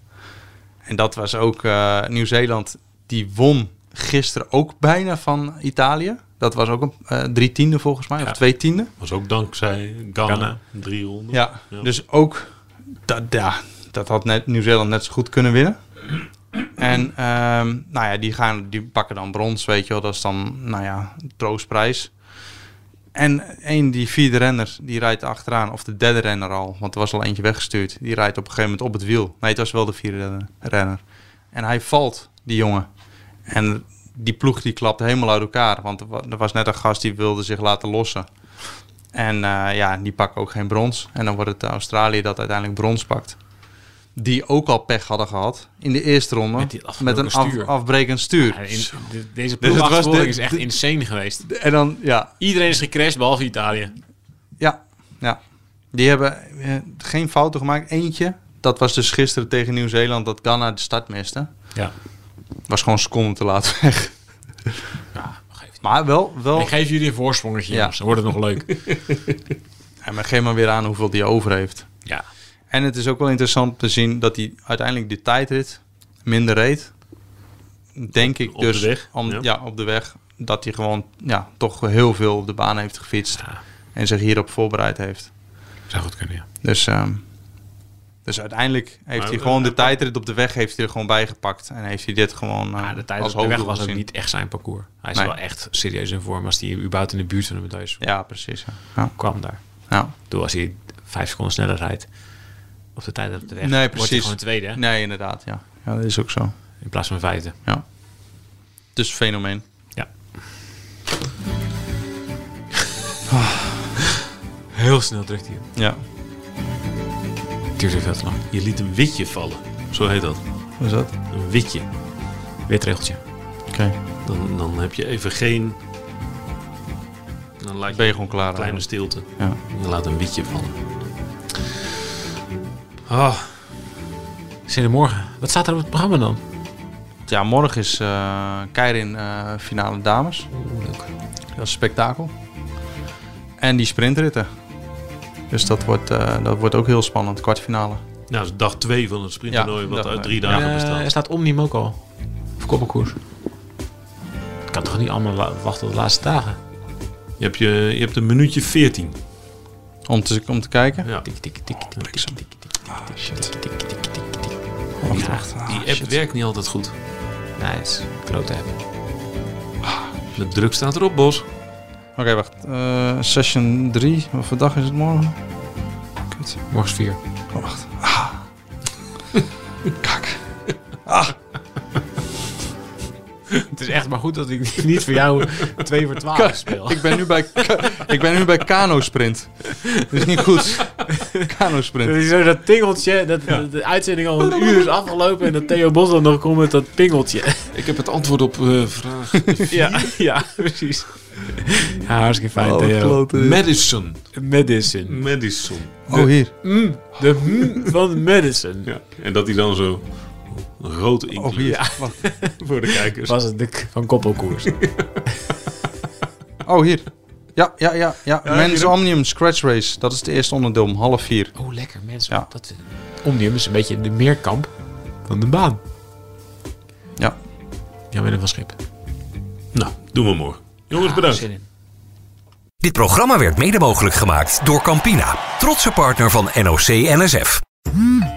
S3: En dat was ook eh, Nieuw-Zeeland die won gisteren ook bijna van Italië. Dat was ook een eh, drie tiende volgens mij,
S2: Ja.
S3: of twee tiende.
S1: Was ook dankzij Ghana.
S2: Ghana.
S1: 300.
S3: Ja,
S1: Ja.
S3: dus ook dat, ja, dat had net Nieuw-Zeeland net zo goed kunnen winnen. En ehm, nou ja, die, gaan, die pakken dan brons, weet je wel. Dat is dan, nou ja, een troostprijs. En een, die vierde renner, die rijdt achteraan. Of de derde renner al, want er was al eentje weggestuurd. Die rijdt op een gegeven moment op het wiel. Nee, het was wel de vierde renner- renner. En hij valt, die jongen. En die ploeg die klapte helemaal uit elkaar. Want er wa- er was net een gast die wilde zich laten lossen. En eh, ja, die pakken ook geen brons. En dan wordt het Australië dat uiteindelijk brons pakt. Die ook al pech hadden gehad in de eerste ronde.
S2: Met
S3: Met,
S2: die
S3: een
S2: afgebroken
S3: af-
S2: stuur.
S3: afbrekend stuur.
S2: Ja, in- de- deze
S3: Dus het was
S2: ploegachtervolging
S3: de-
S2: is echt
S3: de-
S2: insane geweest.
S3: En dan, ja,
S2: Iedereen is gecrashed, behalve Italië.
S3: Ja, ja. Die hebben eh, geen fouten gemaakt. Eentje, dat was dus gisteren tegen Nieuw-Zeeland dat Ghana de start miste.
S2: Ja.
S3: Was gewoon een seconde te laat weg.
S2: Ja, geef het.
S3: Maar wel, wel.
S2: Ik geef jullie een voorsprongetje,
S3: Ja.
S2: jongens. Dan wordt het nog leuk.
S3: En maar geef maar weer aan hoeveel die over heeft.
S2: Ja.
S3: En het is ook wel interessant te zien dat hij uiteindelijk de tijdrit minder reed. Denk ik
S1: op de
S3: dus.
S1: weg,
S3: om-
S1: ja.
S3: ja. op de weg. Dat hij gewoon ja, toch heel veel op de baan heeft gefietst.
S2: Ja.
S3: En zich hierop voorbereid heeft.
S2: Zou goed kunnen, ja.
S3: Dus, ehm, dus uiteindelijk heeft
S1: Maar,
S3: hij gewoon
S1: eh,
S3: de tijdrit op de weg heeft hij er gewoon bijgepakt. En heeft hij dit gewoon eh,
S2: Maar Ah, de tijd
S3: als
S2: op de weg
S3: hoofddoel
S2: was ook
S3: gezien.
S2: niet echt zijn parcours. Hij is
S3: Nee.
S2: wel echt serieus in vorm als hij überhaupt in de buurt van de medailles
S3: Ja, precies. Ja. Ja.
S2: kwam daar.
S3: Ja.
S2: Toen als hij vijf seconden sneller rijdt op de tijd op de weg,
S3: Nee,
S2: wordt hij
S3: precies.
S2: gewoon tweede hè?
S3: Nee, inderdaad. Ja. ja, dat is ook zo.
S2: in plaats van vijfde.
S3: Ja. Dus fenomeen.
S2: Ja. Heel snel drukt hij. hem.
S3: Ja.
S2: Duurt weer veel te lang.
S1: Je liet een witje vallen. Zo heet dat.
S3: Wat is dat?
S1: Een witje.
S2: Witregeltje.
S3: Oké.
S1: Dan, dan heb je even geen... Dan laat
S3: Ben
S1: je
S3: je gewoon klaar?
S1: een kleine stilte.
S3: Ja.
S1: En dan laat een witje vallen. Ah,
S2: Zindemorgen. Wat staat er op het programma dan?
S3: Ja, morgen is eh Keirin eh, finale dames. Dat is een spektakel. En die sprintritten. Dus dat wordt, eh, dat wordt ook heel spannend. Kwartfinale.
S1: nou, dat is dag 2 van het sprinttoernooi
S3: Ja,
S1: wat
S3: dag
S1: uit
S3: twee.
S1: drie dagen
S2: Eh,
S1: bestaat.
S2: er staat Omnium ook al. Of koppelkoers. Ik kan toch niet allemaal wa- wachten tot de laatste dagen?
S1: Je hebt, je, je hebt een minuutje 14.
S3: Om te, om te kijken.
S1: Ja.
S2: Tik, tik, tik, tik, tik, tik, tik, tik, tik, tik, tik, tik, tik.
S3: Wacht,
S2: Ja,
S3: wacht.
S1: Die
S3: Ah,
S1: app
S3: shit.
S1: werkt niet altijd goed.
S2: Nice. Klote hebben.
S1: De druk staat erop, Bos.
S3: Oké, wacht. Eh, session 3. Wat voor dag is het morgen?
S2: Morgens vier.
S3: Oh, wacht. Ah. Kak. Ah.
S2: Het is echt maar goed dat ik niet voor jou 2 voor 12 speel.
S3: Ik ben nu bij, ik ben nu bij Kano Sprint. Dat is niet goed. Kano
S2: Dat
S3: Sprint.
S2: is zo dat tingeltje, dat dat de uitzending al een uur is afgelopen en dat Theo Bos dan nog komt met dat pingeltje.
S4: Ik heb het antwoord op eh, vraag
S2: Ja, ja precies. Ja, hartstikke fijn,
S3: Oh, wat
S2: Theo.
S3: klote.
S4: Madison.
S2: Medicine.
S1: Madison.
S3: Oh, hier.
S2: Mm, de mm van medicine.
S1: Ja. En dat hij dan zo rood
S3: Oh,
S1: inkleurt
S3: hier.
S1: voor de kijkers.
S2: Was het de k- van koppelkoers.
S3: Oh, hier. Ja, ja, ja. ja.
S1: Ja,
S3: Mens
S1: hier.
S3: Omnium Scratch Race. Dat is het eerste onderdeel om half vier.
S2: Oh, lekker mensen.
S3: Ja.
S2: Dat, Omnium is een beetje de meerkamp van de baan.
S3: Ja.
S2: Ja, met een van schip.
S1: Nou, doen we morgen. Jongens, bedankt.
S5: Dit programma werd mede mogelijk gemaakt door Campina, trotse partner van NOC NSF.